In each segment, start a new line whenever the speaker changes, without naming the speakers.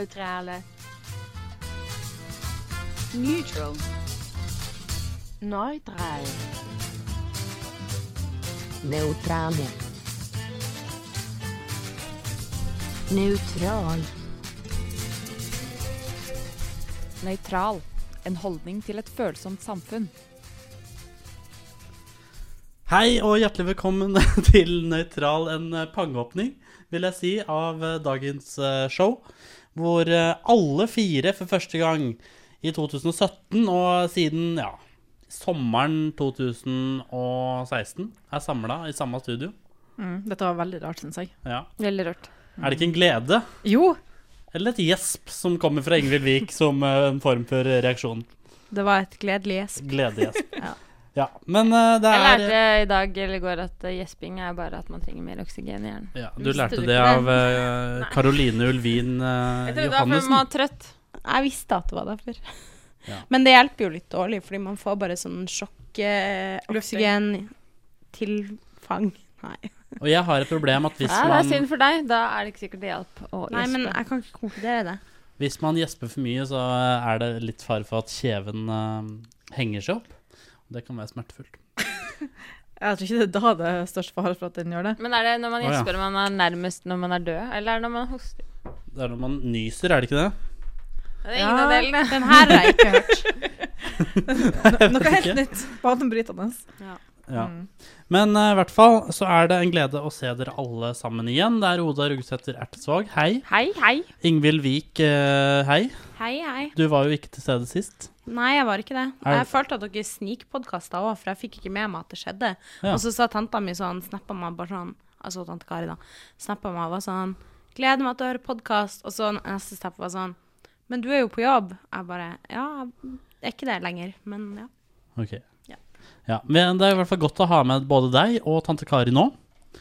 neutrale,
neutral,
neutral,
neutrale, neutral,
Nøytral. En holdning til et følsomt samfunn.
Hei og hjertelig velkommen til Nøytral, en pangeåpning, vil jeg si, av eh, dagens eh, show. Hvor eh, alle fire for første gang i 2017 og siden ja, sommeren 2016 er samla i samme studio.
Mm, dette var veldig rart, syns jeg.
Ja.
Veldig rart.
Er det ikke en glede
Jo,
eller et gjesp som kommer fra Ingvild Wiik som eh, en form for reaksjon?
det var et gledelig gjesp.
Gledegjesp.
Ja.
ja. Men eh, det
Jeg
er
lærte i dag eller i går at eh, gjesping er bare at man trenger mer oksygen i hjernen.
ja, Du
Visste
lærte
du
det
ikke
av eh, Caroline Ulvin eh,
Jeg trodde det var fordi man
Johannessen.
var trøtt.
Jeg visste at det var derfor.
Ja.
Men det hjelper jo litt dårlig, fordi man får bare sånn sjokk eh, Oksygen tilfang. Nei.
Og jeg har et problem at hvis
Ja, det er
man,
synd for deg. Da er det ikke sikkert det hjalp å
Nei, men
gjespe.
jeg kan ikke konkludere det.
hvis man gjesper for mye, så eh, er det litt fare for at kjeven eh, henger seg opp. Det kan være smertefullt.
Jeg tror ikke det er da det er størst fare for at den gjør det.
Men er det når man
Å, ja.
gjesper man er nærmest når man er død, eller er det når man hoster?
Det er når man nyser, er det ikke det?
Det er ingen av delene.
Den her har jeg ikke hørt.
Noe helt
Ikke?
nytt. Banebrytende.
Ja.
Mm.
Men eh, i hvert fall så er det en glede å se dere alle sammen igjen. Det er Oda Rugsæter Ertesvåg, hei.
Hei, hei.
Ingvild Wiik, eh, hei.
Hei, hei.
Du var jo ikke til stede sist.
Nei, jeg var ikke det.
Er-
Jeg følte at dere snikpodkasta òg, for jeg fikk ikke med meg at det skjedde.
Ja.
Og så sa tanta mi sånn, snappa meg bare sånn Altså tante Kari, da. Snappa meg og var sånn 'Gleder meg til å høre podkast.' Og så neste snap var sånn 'Men du er jo på jobb.' Jeg bare Ja, jeg er ikke det lenger, men ja.
Ok.
Ja.
Ja, men det er i hvert fall godt å ha med både deg og tante Kari nå.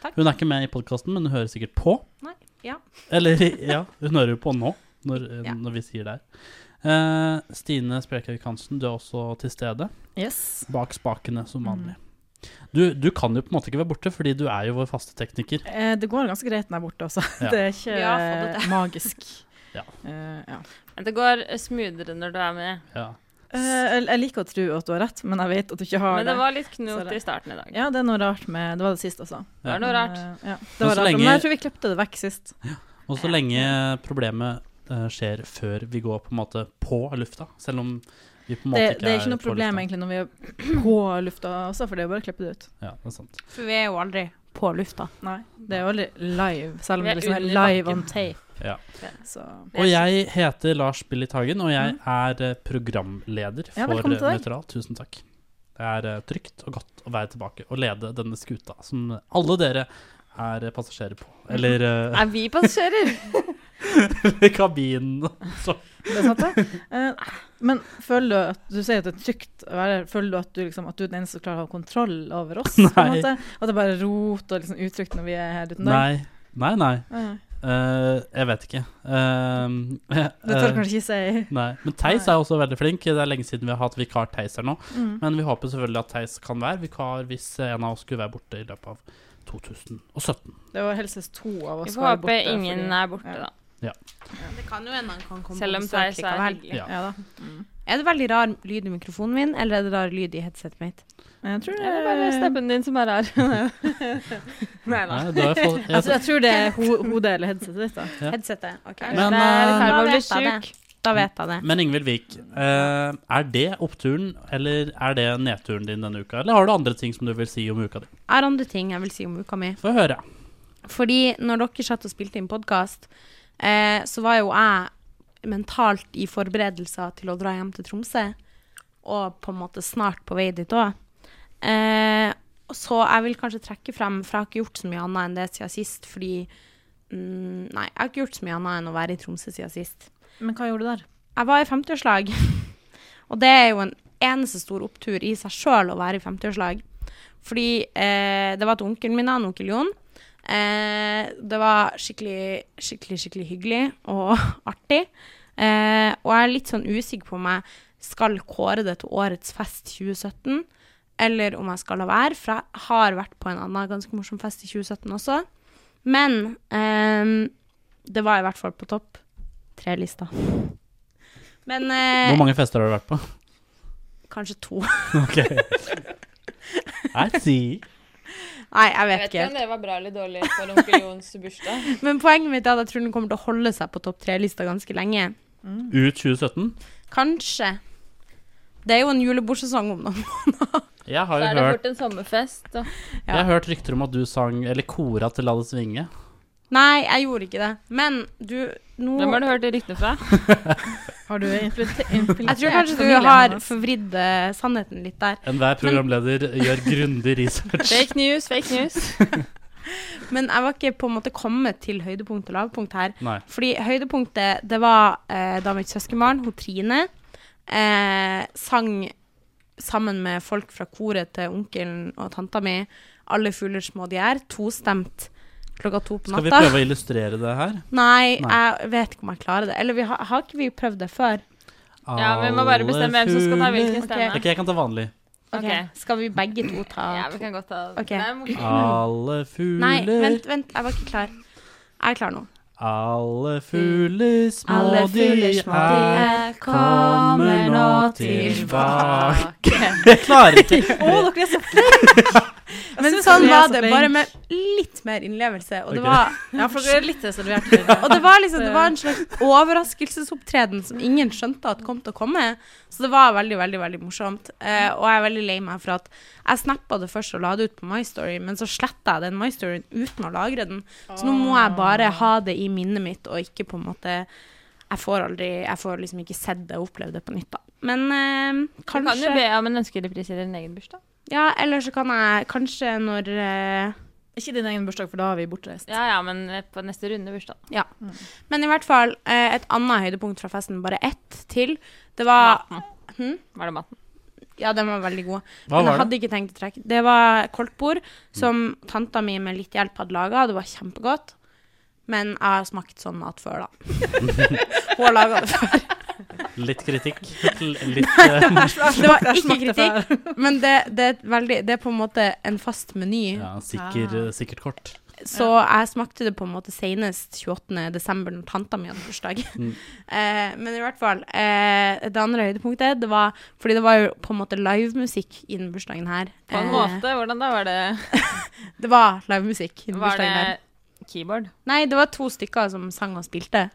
Takk.
Hun er ikke med i podkasten, men hun hører sikkert på.
Nei. Ja.
Eller ja, hun hører jo på nå, når,
Ja.
når vi sier det her. Eh, Stine Sprekhaug Hansen, du er også til stede
Yes.
bak spakene
Mm.
som vanlig. Du, du kan jo på en måte ikke være borte, fordi du er jo vår faste tekniker.
Eh, det går ganske greit når jeg er borte også.
Ja.
Det er ikke
Vi har fått det
magisk.
Ja.
Eh, ja.
Men det går smoothere når du er med.
Ja.
Eh, jeg- jeg liker å tro at du har rett, men jeg vet at du ikke har
Men det var litt
Så
knot
det-
i starten i dag.
Ja, det er noe rart med Det var det sist også.
Det var noe rart.
Eh, ja. Det
Men
var
så
rart.
lenge-
Men jeg tror vi klipte det vekk sist.
Og så lenge problemet eh, skjer før vi går på en måte på lufta, selv om vi på en måte
Det,
ikke
det er ikke noe
på
problem
lufta.
egentlig når vi er på lufta også, for det er jo bare å klippe det ut.
Ja, det er sant.
For vi er jo aldri på lufta.
Nei, det er jo aldri live, selv om
Vi
det
er
liksom er
under
live
bakken.
on tape.
Ja.
Så
Og jeg heter Lars Billit Hagen, og jeg er eh, programleder
Mm. Ja,
for
velkommen til
eh,
deg.
Nøytral. Tusen takk. Det er eh, trygt og godt å være tilbake og lede denne skuta som alle dere er eh, passasjerer på.
Mhm.
Eller eh,
Er vi passasjerer?
kabinen. Så.
Det er sant, det. Eh, men føler du at du sier at det er trygt å være her, Føler du at du, liksom, at du er den eneste som klarer å ha kontroll over oss? På en
Nei.
måte? At det er bare rot og liksom utrygt når vi er her uten deg?
Nei. Nei, nei.
Nei.
Eh, jeg vet ikke. Eh, eh,
Det tør du kanskje ikke si.
Nei. Men Theis er også veldig flink. Det er lenge siden vi har hatt vikar Theis her nå.
Mm.
Men vi håper selvfølgelig at Theis kan være vikar hvis en av oss skulle være borte i løpet av 2017.
Det var helst to av
Vi
oss
får håpe ingen er borte,
ja.
da.
Det kan jo hende han kan komme
Selv om
på
Theis
besøk
er
likevel.
hyggelig.
Ja.
Ja da.
Er det veldig rar lyd i mikrofonen min, eller er det rar lyd i headsetet mitt?
Jeg tror det
Eller bare stemmen din som er rar. Nei da.
Nei, da er jeg,
Jeg,
jeg,
jeg tror det er ho hodet eller headsetet ditt, da.
Ja.
Headsetet, ok.
Men,
det
eh,
er i ferd med å bli
Da vet jeg
sjuk.
Da vet jeg det.
Men Ingvild Wiik, eh, er det oppturen eller er det nedturen din denne uka? Eller har du andre ting som du vil si om uka di?
Jeg har andre ting jeg vil si om uka mi.
Få høre.
Fordi når dere satt og spilte inn podkast, eh, så var jo jeg mentalt i forberedelser til å dra hjem til Tromsø. Og på en måte snart på vei dit òg. Eh, og så jeg vil kanskje trekke frem, for jeg har ikke gjort så mye annet enn det siden sist. Fordi mm, Nei, jeg har ikke gjort så mye annet enn å være i Tromsø siden sist.
Men hva gjorde du der?
Jeg var i 50-årslag. Og det er jo en eneste stor opptur i seg sjøl å være i 50-årslag. Fordi eh, det var til onkelen min, han onkel Jon. Eh, det var skikkelig, skikkelig, skikkelig hyggelig og artig. Eh, og jeg er litt sånn usikker på om jeg skal kåre det til årets fest 2017, eller om jeg skal la være, for jeg har vært på en annen ganske morsom fest i 2017 også. Men eh, det var i hvert fall på topp Trelista. Men
Hvor
eh,
mange fester har du vært på?
kanskje to.
Ok. I see.
Nei, jeg
Jeg
vet
vet
ikke
ikke om
helt.
det var bra eller dårlig for onkel Jons bursdag.
Men poenget mitt er at jeg tror den kommer til å holde seg på topp tre-lista ganske lenge.
Ut 2017.
Kanskje. Det er jo en julebordsesong om noen.
Jeg har,
Da
jo
er det
hørt,
fort en sommerfest. Og
ja.
jeg har hørt rykter om at du sang eller kora til La det svinge.
Nei, jeg gjorde ikke det. Men du nå
Hvem har du hørt det ryktene fra?
Har du infiltrert
Jeg tror kanskje du har forvridd eh, sannheten litt der.
Enhver programleder gjør grundig research.
Fake news, fake news.
Men jeg var ikke på en måte kommet til høydepunkt og lavpunkt her.
Nei.
Fordi høydepunktet, det var eh, da mitt søskenbarn, hun Trine, eh, sang sammen med folk fra koret til onkelen og tanta mi, Alle fugler små de er, tostemt klokka to på
Skal vi
natta.
prøve å illustrere det her?
Nei,
Nei.
jeg vet ikke om jeg klarer det. Eller vi har, har ikke vi prøvd det før?
Ja, vi må bare bestemme hvem som skal ta hvilken
Ok.
stemme.
Ok, jeg kan ta vanlig.
Ok,
Ok.
Skal vi begge to ta
Ja,
to?
vi kan godt ta
Ok.
Nei, må-
Alle fugler
Nei, vent, vent, jeg var ikke klar. Jeg er klar nå.
Alle
Mm.
fugler små
Alle fugler
de
små
er
de kommer nå tilbake.
tilbake Jeg klarer ikke.
dere er så
Men
synes
sånn
det er
var
så
det,
flink.
bare med litt mer innlevelse. Og det
Ok.
var,
Ja, for dere er litt reserverte.
og det var liksom Det var en slags overraskelsesopptreden som ingen skjønte at kom til å komme. Så det var veldig, veldig veldig morsomt. Eh, og jeg er veldig lei meg for at jeg snappa det først og la det ut på My Story, men så sletta jeg den My Storyen uten å lagre den. Så nå må jeg bare ha det i minnet mitt, og ikke på en måte Jeg får aldri Jeg får liksom ikke sett det og opplevd det på nytt, da. Men eh,
Du kan jo
kanskje
be om en ønskereprise i din egen bursdag.
Ja, eller så kan jeg kanskje når eh,
Ikke din egen bursdag, for da er vi bortreist.
Ja ja, men på neste runde bursdag. Mm.
Men i hvert fall, eh, et annet høydepunkt fra festen, bare ett til, det var
Maten.
Hm?
Var det maten?
Ja, den var veldig god.
Hva
Men
var
jeg
det?
hadde ikke tenkt å trekke. Det var koltbord som tanta mi med litt hjelp hadde laga, og det var kjempegodt. Men jeg har smakt sånn mat før, da. Hun har laga det før.
Litt kritikk. Litt, eh,
Det var ikke kritikk, men det, det, er et veldig, det er på en måte en fast meny.
ja, sikker,
Ah.
sikkert kort.
Så jeg smakte det på en måte senest 28. desember når tanta mi hadde bursdag.
Mm.
Eh, men i hvert fall, eh, det andre høydepunktet, det var fordi det var jo på en måte livemusikk i den bursdagen her.
På en
Eh,
måte, hvordan da? Var det,
Det var livemusikk i den
var
bursdagen her.
det keyboard?
Nei, det var to stykker som sang og spilte.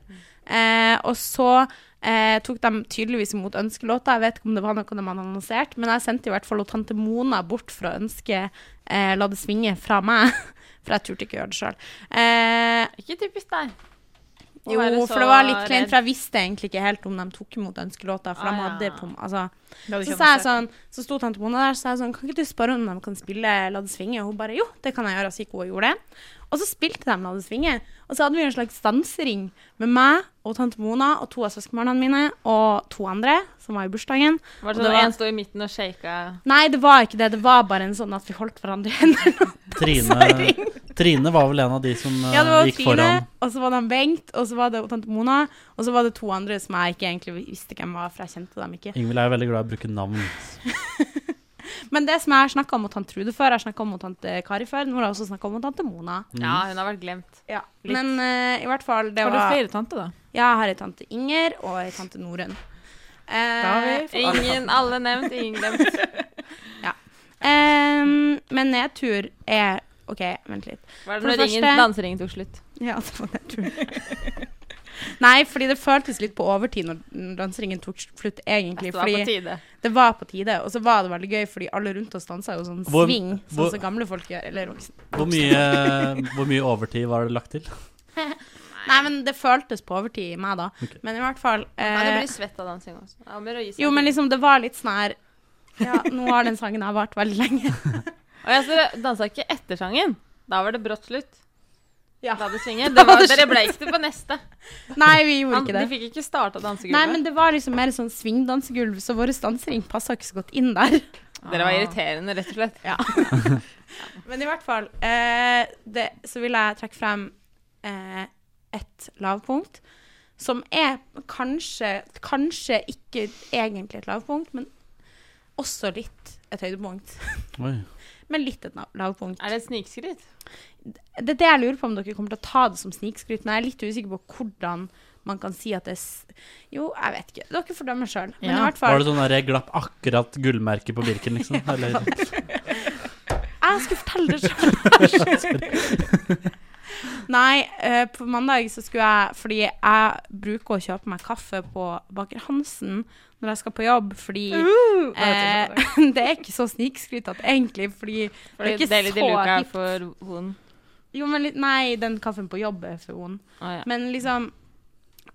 Eh, og så eh, tok de tydeligvis imot ønskelåta. Jeg vet ikke om det var noe de hadde annonsert, men jeg sendte i hvert fall og tante Mona bort for å ønske eh, 'La det svinge' fra meg. For jeg turte ikke å gjøre det sjøl. Eh,
Ikke typisk deg. Å
jo,
være så
for det var litt kleint,
redd.
for jeg visste egentlig ikke helt om de tok imot ønskelåta. For
Ah,
de
ja.
hadde på, altså,
Det hadde
så
ikke
sa jeg
annonsert.
sånn, så sto tante Mona der, så sa jeg sånn, kan ikke du spørre om de kan spille La det svinge? Og hun bare, jo, det kan jeg gjøre, og så gikk hun og gjorde det. Og så spilte de La det svinge, og så hadde vi en slags dansering med meg og tante Mona og to av søskenbarna mine og to andre som var i bursdagen.
Var det
Og det
sånn
var-
en sto i midten og shaka
Nei, det var ikke det, det var bare en sånn at vi holdt hverandre i hendene.
Ah,
Trine, Trine var vel en av de som eh,
Ja, det var
gikk
Trine,
foran.
og så var det han Bengt, og så var det tante Mona, og så var det to andre som jeg ikke egentlig visste hvem var, for jeg kjente dem ikke.
Ingvild er jo veldig glad i å bruke navn.
Men det som jeg har snakka om mot tante Trude før, jeg har snakka om mot tante Kari før, nå har jeg også snakka om mot tante Mona.
Mm.
Ja, hun har vært glemt. litt.
Men eh, i hvert fall, det
Har du
var
flere tanter, da?
Ja, jeg har ei tante Inger og ei tante Norunn. Eh,
Da har vi fått alle
Ingen, alle nevnt, ingen glemt.
ehm, men nedtur er OK, vent litt.
Var det
For det
når ringen,
første-
danseringen tok slutt?
Ja, det var nedtur. Nei, fordi det føltes litt på overtid når danseringen tok slutt, egentlig.
Det var på
Fordi
tide.
Altså, det var på tide. Og så var det veldig gøy, fordi alle rundt oss dansa jo sånn
Hvor-
sving,
hvor-
sånn som gamle folk gjør. Eller voksne.
Hvor mye, hvor mye overtid var det lagt til?
Nei, men det føltes på overtid i meg, da.
Ok.
Men i hvert fall
Nei, det
eh,
blir svett av dansing også. Ja, men å gi seg.
Jo, men liksom, det var litt sånn her Ja, nå har den sangen her vart veldig lenge.
Og jeg så dansa ikke etter sangen. Da var det brått slutt.
Ja.
Da det svinger.
Da
Det
var
var,
det
dere
slutt.
ble ikke på neste.
Nei, vi gjorde
Han,
ikke
de
det.
fikk ikke starta dansegulvet.
Nei, men det var liksom mer sånn svingdansegulv, så vår dansering passa ikke så godt inn der.
Dere var irriterende, rett og slett.
Men i hvert fall, eh, det, så vil jeg trekke frem eh, et lavpunkt, som er kanskje, kanskje ikke egentlig et lavpunkt, men også litt et høydepunkt.
Oi.
Men litt et nav- lavpunkt.
Er det et snikskryt?
Det er det jeg lurer på om dere kommer til å ta det som snikskryt, men jeg er litt usikker på hvordan man kan si at det er s- Jo, jeg vet ikke. Dere får dømme sjøl. Men i
Ja.
hvert
Var
fall
det sånn der jeg glapp akkurat gullmerket på Birken, liksom? Eller,
Jeg skulle fortelle det sjøl. Nei, eh, på mandag så skulle jeg Fordi jeg bruker å kjøpe meg kaffe på Baker Hansen når jeg skal på jobb, fordi eh, Det er ikke så snikskrytete egentlig, fordi det er
Fordi
ikke
Deli de Luca
så
er for vond.
Jo, men litt Nei, den kaffen på jobb er for vond.
Å ja.
Men liksom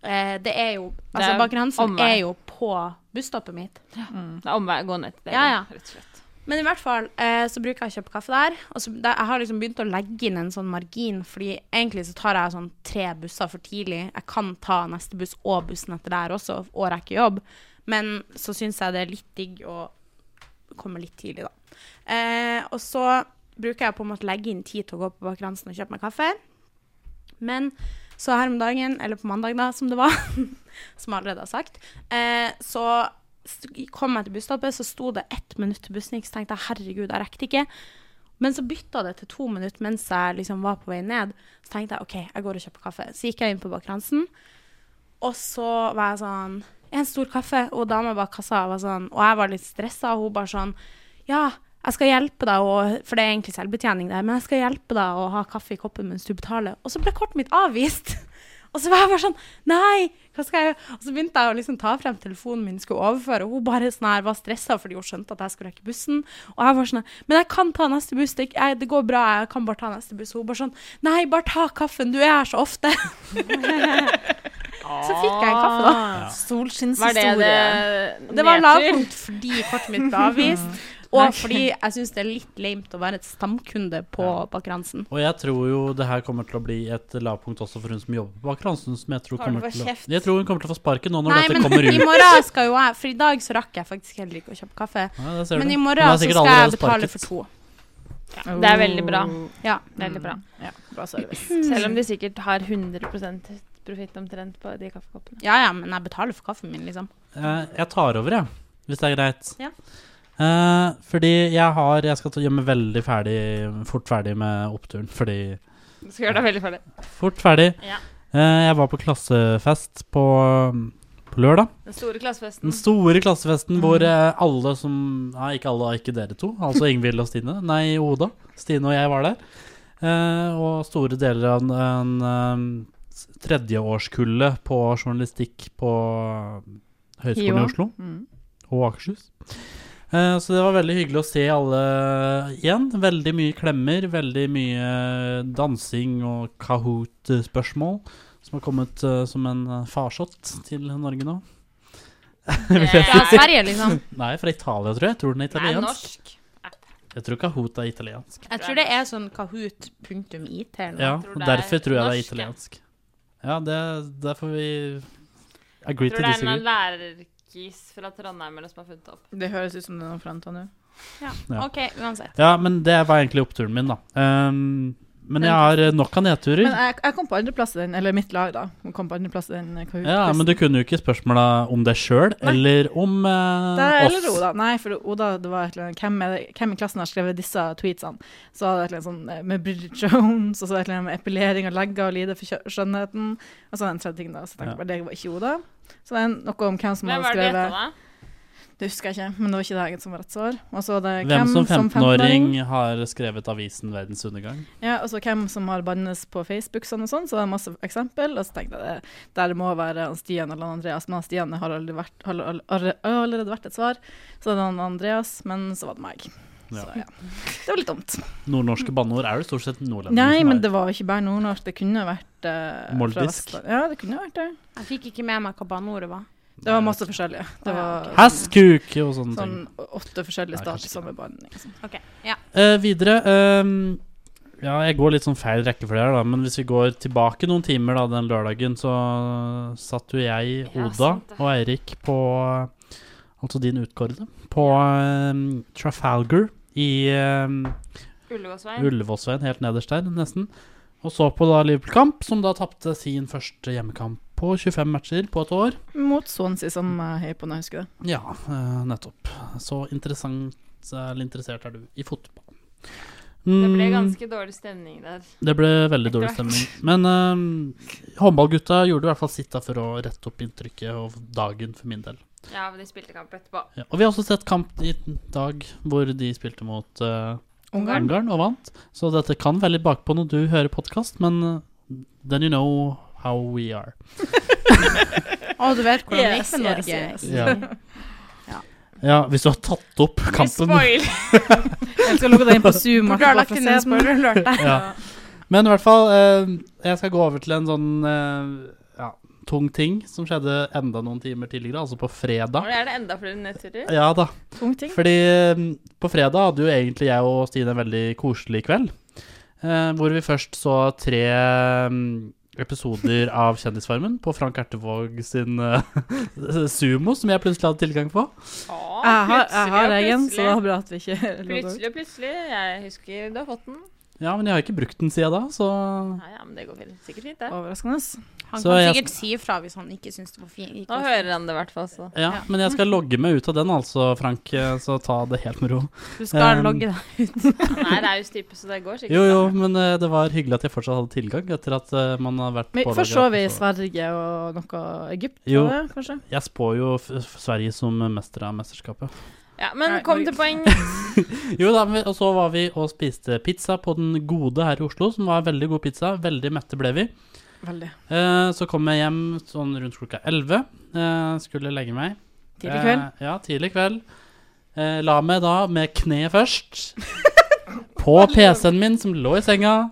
eh, Det er jo
Det
Altså,
er
Baker Hansen
omvei.
er jo på busstoppet mitt.
Det er omvei å gå ned til Deli,
Ja, ja.
rett og slett.
Men i hvert fall eh, så bruker jeg å kjøpe kaffe der. Og så da- jeg har liksom begynt å legge inn en sånn margin, fordi egentlig så tar jeg sånn tre busser for tidlig. Jeg kan ta neste buss og bussen etter der også, og rekke jobb. Men så syns jeg det er litt digg å komme litt tidlig, da. Eh, og så bruker jeg på en måte legge inn tid til å gå på Baker Hansen og kjøpe meg kaffe. Men så her om dagen, eller på mandag da, som det var, som jeg allerede har sagt, eh, så st- kom jeg til busstoppet, så sto det ett minutt til bussen gikk, så tenkte jeg herregud, jeg rekte ikke. Men så bytta det til to minutter mens jeg liksom var på vei ned. Så tenkte jeg OK, jeg går og kjøper kaffe. Så gikk jeg inn på Baker Hansen, og så var jeg sånn En stor kaffe. Og dama bak kassa var sånn Og jeg var litt stressa, og hun bare sånn Ja, jeg skal hjelpe deg, og, for det er egentlig selvbetjening der, men jeg skal hjelpe deg å ha kaffe i koppen mens du betaler. Og så ble kortet mitt avvist. Og så var jeg bare sånn Nei, hva skal jeg gjøre? Og så begynte jeg å liksom ta frem telefonen min, skulle overføre, og hun bare sånn her var stressa fordi hun skjønte at jeg skulle rekke bussen. Og jeg var sånn her, Men jeg kan ta neste buss, det, jeg, det går bra, jeg kan bare ta neste buss. Og hun bare sånn Nei, bare ta kaffen, du er her så ofte. så fikk jeg en kaffe, da.
Var det det
Mm.
Det var
nedtur?
lavpunkt fordi kortet mitt ble avvist. Og fordi jeg syns det er litt lame å være et stamkunde på Baker Hansen.
og jeg tror jo det her kommer til å bli et lavpunkt også for hun som jobber på Aker Hansen. Som jeg, tror
Har du
kommer
fått
til å,
kjeft?
jeg tror hun kommer til å få sparken nå når
Nei,
dette
men
kommer
i
ut.
morgen skal jo jeg For i dag så rakk jeg faktisk heller ikke å kjøpe kaffe.
Ja, det ser
Men
du.
i
Hun har
morgen så
sikkert
skal jeg
allerede sparket.
betale for to.
Det er veldig bra.
Ja. Mm.
Veldig bra.
Ja, bra service.
Selv om de sikkert har 100 profitt omtrent på de kaffekoppene.
Ja, ja, men jeg betaler for kaffen min, liksom.
Eh, jeg tar over, jeg. Hvis det er greit.
Ja.
Eh, fordi jeg har Jeg skal ta- gjøre meg veldig ferdig fort ferdig med oppturen, fordi
Skal gjøre deg veldig ferdig.
Fort ferdig.
Ja.
Eh, jeg var på klassefest på, på lørdag.
Den store
Den
klassefesten.
store klassefesten hvor eh, alle som Nei, ikke alle, ikke dere to. Altså Ingvild og Stine. Nei, Oda. Stine og jeg var der. Eh, og store deler av en, en eh, tredjeårskullet på journalistikk på eh, Høgskolen i
HiOA.
Oslo
Mm.
og Akershus. Eh, så det var veldig hyggelig å se alle igjen. Veldig mye klemmer, veldig mye dansing og Kahoot-spørsmål som har kommet eh, som en eh, farsott til Norge nå. Vil jeg si.
Fra Sverige, liksom.
Nei, fra Italia, tror jeg. Jeg tror den er
Det er
italiensk.
norsk.
Jeg tror Kahoot er italiensk.
Jeg tror det er sånn kahoot.it eller noe.
Ja,
tror
og
det er
derfor tror jeg det
norsk,
er
ja.
italiensk. Ja, det, der får vi agree
Jeg
to
tror det er
disagree.
en lærerkis fra Trondheim eller som har funnet det opp.
Det høres ut som det er noen fra Antonio.
Ja.
OK, uansett.
Ja, men det var egentlig oppturen min, da. Um, men jeg har eh, nok av
Men
nedturer.
jeg, jeg kom på andreplass i den, eller mitt lag, da. Jeg Kom på andreplass i den eh, Kahoot-quizen.
Ja, men du kunne jo ikke spørsmåla om deg sjøl, eller om eh,
Det er eller
oss.
Oda. Nei, for Oda, det var et eller annet Hvem, er det, hvem i klassen har skrevet disse tweetsene? Så var det et eller annet sånn eh, med Bridget Jones, og så var det et eller annet med epilering og legger og lide for kjø- skjønnheten. Og så var det en tredje ting, da. Så jeg tenkte
Ja.
jeg bare det var ikke Oda. Så det er noe om hvem som
Hvem
hadde
var det du gjetta,
skrevet
da?
Det husker jeg ikke, men det var ikke det eget som var rett svar. Og så var det
Hvem som 15-åring har skrevet avisen 'Verdens undergang'?
Ja, og så hvem som har bannes på Facebook sånn og sånn, så det er masse eksempel. Og så tenkte jeg det, der må være han Stian eller han Andreas, men han Stian har aldri vært, har, all- all- allerede vært et svar. Så det er han Andreas, men så var det meg.
Ja.
Så ja. Det var litt dumt.
Nordnorske banneord er det stort sett
Mm.
nordlendinger
Nei,
som
men
er.
det var ikke bare nordnorsk, det kunne vært eh, fra
Moldisk?
Vestland. Ja, det kunne vært det.
Jeg fikk ikke med meg hva banneordet var.
Det var masse forskjellige. Det var
Hæskuk og sånne ting.
sånn åtte forskjellige
Nei,
start i
kanskje ikke.
samme band. Liksom.
OK. Ja.
Eh, videre ehm, Ja, jeg går litt sånn feil rekkefølge her, da, men hvis vi går tilbake noen timer da, den lørdagen, så satt jo jeg,
Ja,
Oda
sant det.
og Eirik på Altså din utkårede. På ehm, Trafalgar i um,
Ullevålsveien.
Ullevålsveien, helt nederst der, nesten. Og så på da Liverpool-kamp, som da tapte sin første hjemmekamp på 25 matcher på et år.
Mot Swansea, som jeg heier på når jeg husker det.
Ja, eh, nettopp. Så interessant, eller interessert er du i fotball.
Det ble
Mm,
ganske dårlig stemning der.
det ble veldig
Etter
dårlig
hvert.
stemning. Men eh, håndballgutta gjorde i hvert fall sitt da for å rette opp inntrykket og dagen for min del.
Ja, men de spilte kamp etterpå.
Ja. Og vi har også sett kamp i dag hvor de spilte mot eh,
Ungarn.
Ungarn og vant. Så dette kan være litt bakpå når du hører podkast, men eh, then you know how we are.
Å, du vet hvordan det gikk
Yes,
med
yes,
Norge.
yes.
Ja.
Ja.
ja, hvis du har tatt opp kampen
Jeg skal logge deg inn på Zoom.
Burde
etterpå
ha lagt
for å
inn
se sånn
en
den.
spoiler alert der.
ja. Men i hvert fall, eh, jeg skal gå over til en sånn eh, ja, tung ting som skjedde enda noen timer tidligere, altså på fredag.
Er det enda flere nedturer?
Ja da,
Tung ting.
fordi eh, på fredag hadde jo egentlig jeg og Stine en veldig koselig kveld. eh, hvor vi først så tre mm, episoder av Kjendisfarmen på Frank Ertevåg sin eh, sumo, som jeg plutselig hadde tilgang på.
Ja,
Jeg har, jeg har
plutselig
egen,
og
så det er
plutselig.
bra at vi ikke logger ut.
Plutselig og plutselig. Jeg husker du har fått den.
Ja, men jeg har ikke brukt den siden da, så
Nei, ja, men det går vel sikkert fint, det.
Overraskende.
Han
Så
kan
jeg-
sikkert si ifra hvis han ikke syns det var fint.
Nå hører han det i hvert fall, så.
ja, men jeg skal logge meg ut av den altså, Frank, eh, så ta det helt med ro.
Du skal
Um,
logge deg.
Han er raus type, så det går sikkert.
Jo, jo,
bra.
men eh, det var hyggelig at jeg fortsatt hadde tilgang etter at eh, man har vært
Men
pålagt
Først så vi
at-
Sverige og noe Egypt,
Jo.
var det, kanskje?
Jeg spår jo f f Sverige som mester av mesterskapet.
Ja, men
Nei,
kom
Norge.
til poeng.
Jo da, men- og så var vi og spiste pizza på Den Gode her i Oslo, som var veldig god pizza. Veldig mette ble vi.
Veldig.
Eh, så kom jeg hjem sånn rundt klokka 11. Eh, skulle legge meg.
Tidlig kveld.
Eh, ja, tidlig kveld. Eh, la meg da med kne først. på PC-en min, som lå i senga.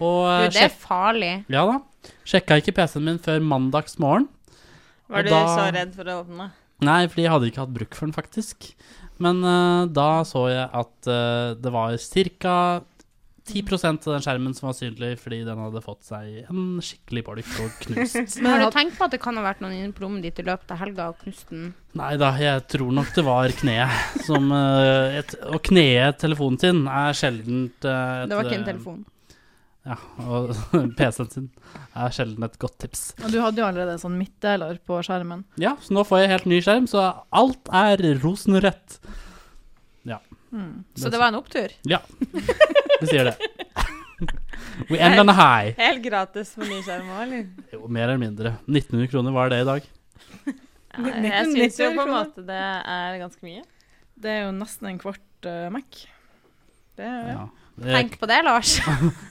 Og
Du,
eh,
det
sjek
er farlig.
ja da. Sjekka ikke PC-en min før mandagsmorgen. Og
Var du
da-
så redd for å åpne?
Nei, fordi jeg hadde ikke hatt bruk for den, faktisk. Men eh, da så jeg at eh, det var ca. 10 av den skjermen som var synlig fordi den hadde fått seg en skikkelig bolk og knust.
Har du tenkt på at det kan ha vært noen inne på rommet ditt i løpet av helga og knust den?
Nei da, jeg tror nok det var kneet som eh, et, Å knee telefonen sin er sjeldent eh, et,
Det var ikke en
eh,
telefon.
Ja, og PC-en sin er sjelden et godt tips.
Og du hadde jo allerede en sånn midtdeler på skjermen.
Ja, så nå får jeg helt ny skjerm, så alt er rosenrødt.
Hmm.
Så det var en opptur.
Vi sier det. We end on a high.
Helt gratis med ny skjerm òg, eller?
Jo, mer eller mindre. 1900 kroner var det i dag.
Ja,
Nitten-
jeg syns jo
nitti
på en
kroner.
måte det er ganske mye.
Det er jo nesten en kvart eh, Mac. Det er
Ja. Eh,
Tenk på det, Lars.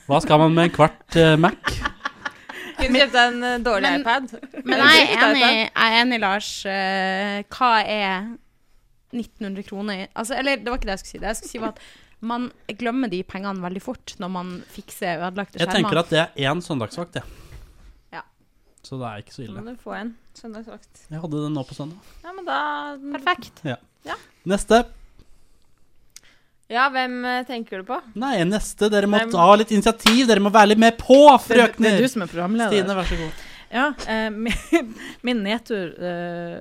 hva skal man med en kvart eh, Mac?
Kunne kjøpt deg en eh, dårlig
Men-
iPad.
Men jeg er enig, jeg er enig Lars. Eh, Hva er 1900 kroner i altså, Eller det var ikke det jeg skulle si. Det jeg skulle si var at man glemmer de pengene veldig fort når man fikser ødelagte
Jeg tenker
skjermer.
at det er én søndagsvakt, jeg.
Ja.
Så det er ikke så
Så må
ille.
du få en søndagsvakt.
Jeg hadde den nå på søndag.
Ja, men da
Perfekt.
Neste.
Ja, hvem eh, tenker du på?
Nei, neste. Dere må
Nei, men-
ta litt initiativ. Dere må være litt med på,
Det, det er
frøkner!
du som er programleder.
Stine, vær så god.
Ja, eh, min, min nedtur eh,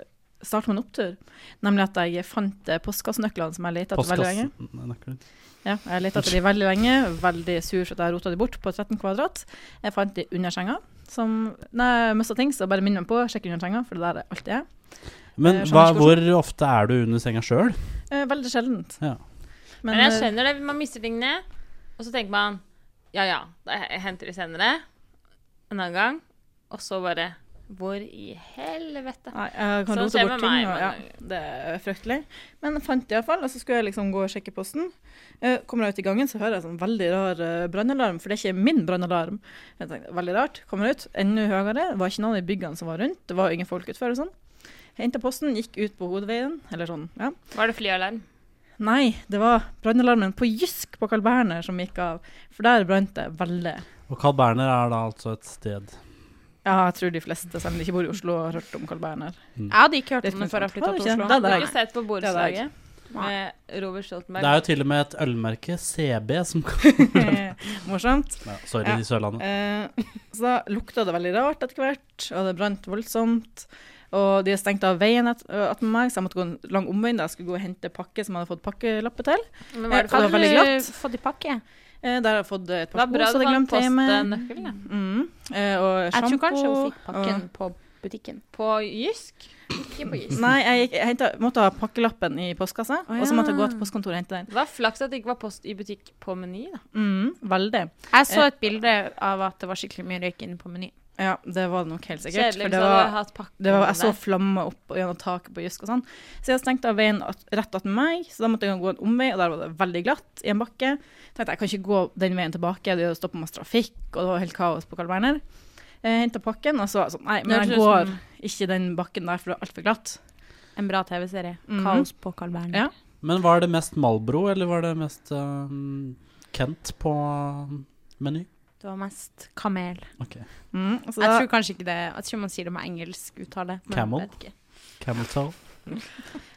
starter med en opptur. Nemlig at jeg fant eh, postkassenøklene som jeg lette etter veldig lenge.
Postkassen.
Ja, jeg lette etter de veldig lenge. Veldig sur for at jeg rota de bort på 13 kvadrat. Jeg fant de under senga. Som, når jeg mister ting, så bare minn meg på å sjekke under senga, for det der er alltid jeg.
Men
Eh, skjønner
hva,
ikke
hvor ofte er du under senga sjøl?
Eh, veldig sjeldent.
Ja.
Men,
Men jeg
eh,
skjønner det, man mister tingene, og så tenker man ja ja, da jeg henter de senere, en annen gang, og så bare hvor i helvete?
Nei, jeg kan
Sånn
rote
skjer
bort
med meg,
ting, og,
men-
ja, det er fryktelig. Men jeg fant det iallfall, og så skulle jeg liksom gå og sjekke posten. Eh, kommer jeg ut i gangen, så hører jeg sånn veldig rar eh, brannalarm, for det er ikke min brannalarm. Jeg tenkte, Veldig rart. Kommer ut, enda høyere. Det var ikke noen i byggene som var rundt. Det var jo ingen folk utfor og sånn. Henta posten, gikk ut på hovedveien, eller sånn, ja.
Var det flyalarm?
Nei, det var brannalarmen på Jysk på Carl Berner som gikk av, for der brant det veldig.
Og Carl Berner er da altså et sted.
Ja, jeg tror de fleste som ikke bor i Oslo, har hørt om Carl Berner.
Jeg hadde ikke hørt
Det
om det før jeg flytta
Har du
til
ikke?
Oslo.
Da
Har
Nei.
du sett på
Det
borettslaget
Nei.
med Robert Stoltenberg?
Det er jo til og med et ølmerke, CB, som
Eh, Morsomt.
ja, Sorry,
Ja.
i Sørlandet.
Eh, så da lukta det veldig rart etter hvert, og det brant voldsomt. Og de stengte av veien at- øh, attmed meg, så jeg måtte gå en lang omvei da jeg skulle gå og hente pakke som jeg hadde fått pakkelappe til.
Men var det
Ja,
for
det var veldig glatt.
Hadde du fått i pakke?
Eh, der har jeg fått et
Det
par
var
sko
bra
som
du
jeg
fant
glemte hjemme.
postnøkkelen. da.
Mm. Eh, og
Jeg tror
sjampo.
kanskje hun fikk pakken
og-
på butikken.
På Jysk? Ikke på is.
Nei, jeg, gikk, jeg hentet, måtte ha pakkelappen i postkassa, og så måtte jeg gå til postkontoret og hente den.
Det var flaks at det ikke var post i butikk på Meny, da.
Mm, veldig.
Jeg
Eh.
så et bilde av at det var skikkelig mye røyk inne på Meny.
Ja, det var det nok helt sikkert.
Kjedelig
for det
hvis jeg
var,
hadde hatt pakke
det var, jeg så
der.
flammer opp og gjennom taket på Jysk og sånn. Så jeg stengte av veien at, rett attmed meg, så da måtte jeg gå en omvei, og der var det veldig glatt i en bakke. Tenkte jeg kan ikke gå den veien tilbake, det stoppa masse trafikk, og det var helt kaos på Carl Berner. Jeg henta pakken, og så var jeg sånn Nei, men jeg går ikke den bakken der, for det er altfor glatt.
En bra TV-serie.
Mhm.
Kaos på Carl Berner.
Ja.
Men var det mest Malbro, eller var det mest ehm, Kent på um, Meny?
Det var mest kamel.
Ok.
Mm, så
Jeg
da,
tror kanskje ikke det Jeg tror man sier det med engelsk uttale. men
Camel?
jeg vet ikke.
Camel Toe.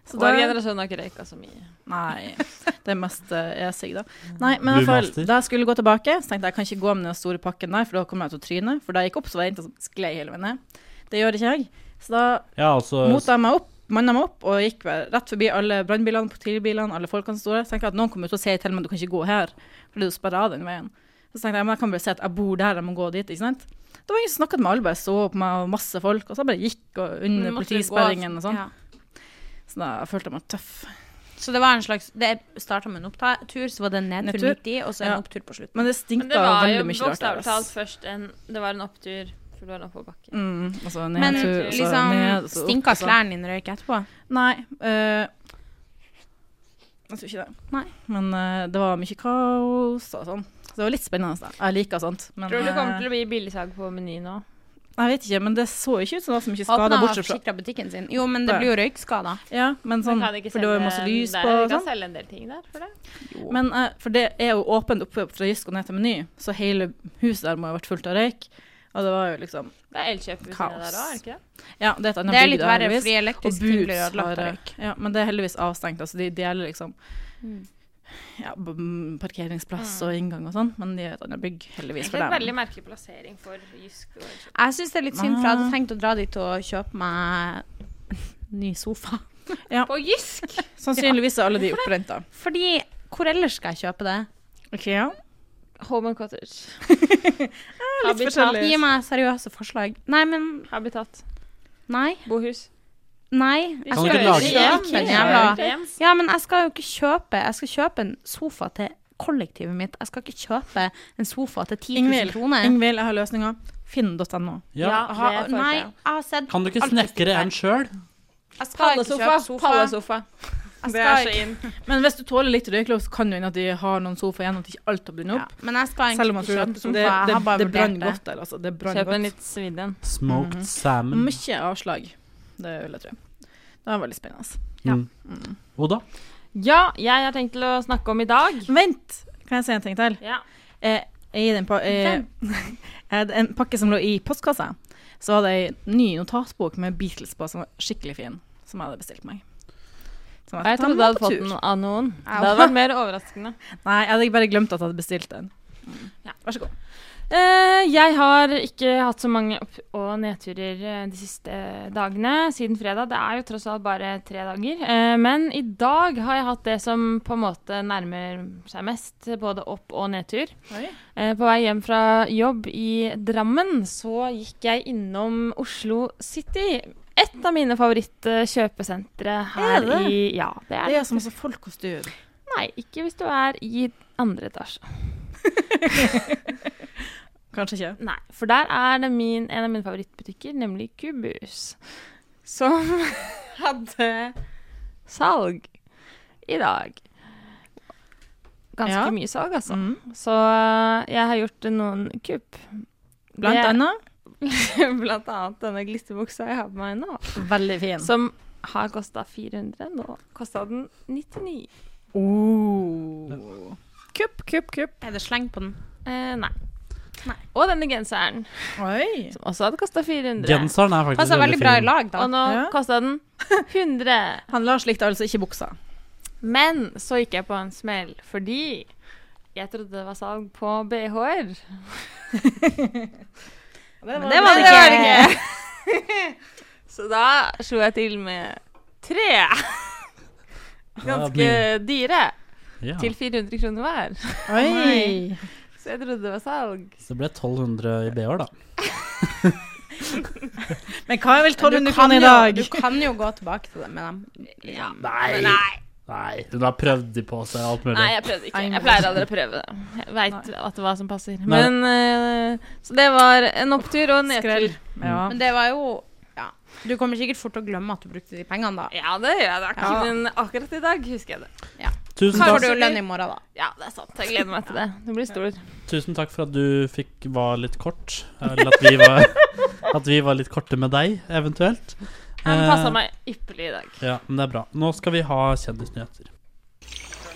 så
Vår
da
generasjon har ikke røyka så mye.
Nei. Det er mest eh, jeg sier, da. Nei, men i hvert
Brewmaster.
fall, da jeg skulle gå tilbake, så tenkte jeg jeg kan ikke gå med den store pakken der, for da kommer jeg til å tryne. For da jeg gikk opp, så var det jenta som sklei hele veien ned. Det gjør ikke jeg. Så da
Ja, altså
mota jeg meg opp, manna meg opp, og gikk vel rett forbi alle brannbilene, politibilene, alle folkene som sto der. Så tenkte jeg at noen kommer til å si til meg du kan ikke gå her, for du sperrer av den veien. Så tenkte jeg men jeg kan bare si at jeg bor der, jeg må gå dit, ikke sant. Det var ingen som snakket med meg, alle bare så på meg, og masse folk. Og så jeg bare gikk og
Men
under
måtte du gå- altså.
politisperringen og sånn.
Ja.
Så da følte jeg meg tøff.
Så det var en slags Det starta med en opptur, så var det en nedtur,
Nedtur.
midt i, og så en
Ja.
opptur på slutten.
Men det
Men
stinka
det var jo
veldig mye rart. der,
bokstavelig talt
ass.
først en Det var en opptur, for det var en oppoverbakke.
Mm, altså ned,
Men
tur, altså
liksom,
ned, og så opp, altså.
stinka
og så-
klærne dine røyk etterpå?
Nei. eh, jeg tror ikke det.
Nei.
Men eh, det var mye kaos og sånn. Så det var litt spennende. Da. Jeg liker sånt. Men,
Tror du det kommer
eh,
til å bli billigsag på Meny nå?
Sånn, jeg vet ikke, men det så ikke ut som det var så mye skader
Håper han
bortsett fra
forsikra butikken sin. Jo, men det blir jo røykskader.
Ja, men sånn,
Kan de ikke
for det var jo
selge
masse lys
der?
på
De
og
kan
sånn.
selge en del ting der for det.
Men eh, for det er jo åpent oppe fra Jysk og ned til Meny, så hele huset der må ha vært fullt av røyk. Og det var jo liksom
Det er Elkjøp ved siden av
Kaos.
der òg, er det ikke det?
Ja, det er et annet
Det er
bygg
litt
da,
verre,
heldigvis.
fordi
Og
elektrisk ting blir
Boots
ødelagt
har eh,
av røyk.
Ja, men det er heldigvis avstengt. Altså, de deler liksom
Mm.
ja, b- m,
Ah.
parkeringsplass og inngang og sånn, men de er et annet bygg, heldigvis
Egentlig
for
en
dem.
veldig merkelig plassering for Jysk. og Elkjøp.
Jeg syns det er litt synd, for jeg hadde tenkt å dra dit og kjøpe meg ny sofa.
På Jysk!
Sannsynligvis er alle de opprent, da.
Fordi hvor ellers skal jeg kjøpe det?
ja.
Home and Cottage.
Ah, forskjellig.
Habitat.
Eller-
Gi meg seriøse forslag. Nei, men
Habitat.
Nei.
Bohus.
Nei. Jeg
Kan du ikke
jo
lage-
kjøpe en
Ja,
jævla
krem.
Ja, men jeg skal jo ikke kjøpe Jeg skal kjøpe en sofa til kollektivet mitt. Jeg skal ikke kjøpe en sofa til 10 000
Ingvild,
kroner.
Ingvild, jeg har løsninga. Finn.no.
ja.
Jeg har-
det får
nei,
jeg
jeg har sett
Kan du ikke
alt det
snekre
siste.
en sjøl?
Jeg skal ikke
Pallesofa.
kjøpe sofa.
Pallesofa.
Jeg
Det er
skal
så
ikke.
inn.
Men hvis du tåler litt røyklov, så kan du hende at de har noen sofa igjen, at ikke alt har blindet
Ja,
opp.
men jeg skal
Selv om
egentlig
jeg
ikke
tror at
kjøpe
det,
sofa.
det,
Jeg har bare
det brann
vurdert det.
godt der, altså. Det brann
Kjøp en
godt.
litt svidd en.
Smoked salmon.
Mye avslag. Det vil jeg tro. Det var veldig spennende. altså.
Mm. Oda?
Ja, jeg har tenkt til å snakke om i dag.
Vent! Kan jeg si en ting til?
Ja.
Eh, I den pa eh, eh, en pakke som lå i postkassa, så hadde jeg en ny notatbok med Beatles på som var skikkelig fin, som jeg hadde bestilt meg. Som skal
Jeg
ta
trodde
med
jeg hadde
på
fått
tur.
den av noen. Det hadde vært mer overraskende.
Nei, jeg hadde bare glemt at jeg hadde bestilt den.
Ja.
Vær så god.
Eh, jeg har ikke hatt så mange opp- og nedturer eh, de siste dagene siden fredag. Det er jo tross alt bare tre dager. Eh, men i dag har jeg hatt det som på en måte nærmer seg mest, både opp- og nedtur. Eh, på vei hjem fra jobb i Drammen så gikk jeg innom Oslo City. Et av mine favorittkjøpesentre
Er
her
det?
i Ja, det er
Det
det.
er så masse folk hos dyr.
Nei, ikke hvis du er i andre etasje.
Kanskje ikke.
Nei, for der er det min, en av mine favorittbutikker, nemlig Kubus, som hadde salg i dag. Ganske
Ja.
mye salg, altså.
Mm.
Så øh, jeg har gjort noen kupp.
Blant
Det-
annet
blant annet denne glitterbuksa jeg har på meg nå,
veldig fin.
som har kosta 400. Nå kosta den 99.
Oh. Kupp, kupp, kupp.
Er det sleng på den?
Eh, nei. Og denne genseren,
Oi.
som også hadde kosta 400.
Genseren er faktisk
Passer veldig
veldig
bra i
fin.
lag, da.
Og nå
Ja.
kosta den 100.
Han Lars likte altså ikke buksa.
Men så gikk jeg på en smell, fordi jeg trodde det var salg på BH-er.
Men det var det ikke.
Så da slo jeg til med tre ganske dyre,
Ja,
til 400 kroner hver.
Oi.
Så jeg trodde det var salg.
så det ble 1200 i BH, da.
Men hva er vel
Men
1200 kroner i dag?
Jo, du kan jo gå tilbake til det med dem.
Ja.
Nei. Nei, Hun har prøvd de på seg alt mulig.
Nei, jeg prøvde ikke.
Nei,
Jeg
men-
pleier aldri å prøve det. Jeg veit hva som passer.
Nei.
Men eh, Så det var en opptur og en nedtur.
Skrell. Ja.
Men det var jo ja. Du kommer sikkert fort til å glemme at du brukte de pengene, da.
Ja, det gjør jeg nok.
Ja.
Men akkurat i dag husker jeg det.
Tusen
Så får du
takk,
jo lønn i morgen, da.
Ja, det er sant. Jeg gleder meg til det. Det blir stor.
tusen takk for at du fikk var litt kort. Eller at vi var, at vi var litt korte med deg, eventuelt.
Han
Eh,
passa meg ypperlig i dag.
Ja, men det er bra. Nå skal vi ha kjendisnyheter.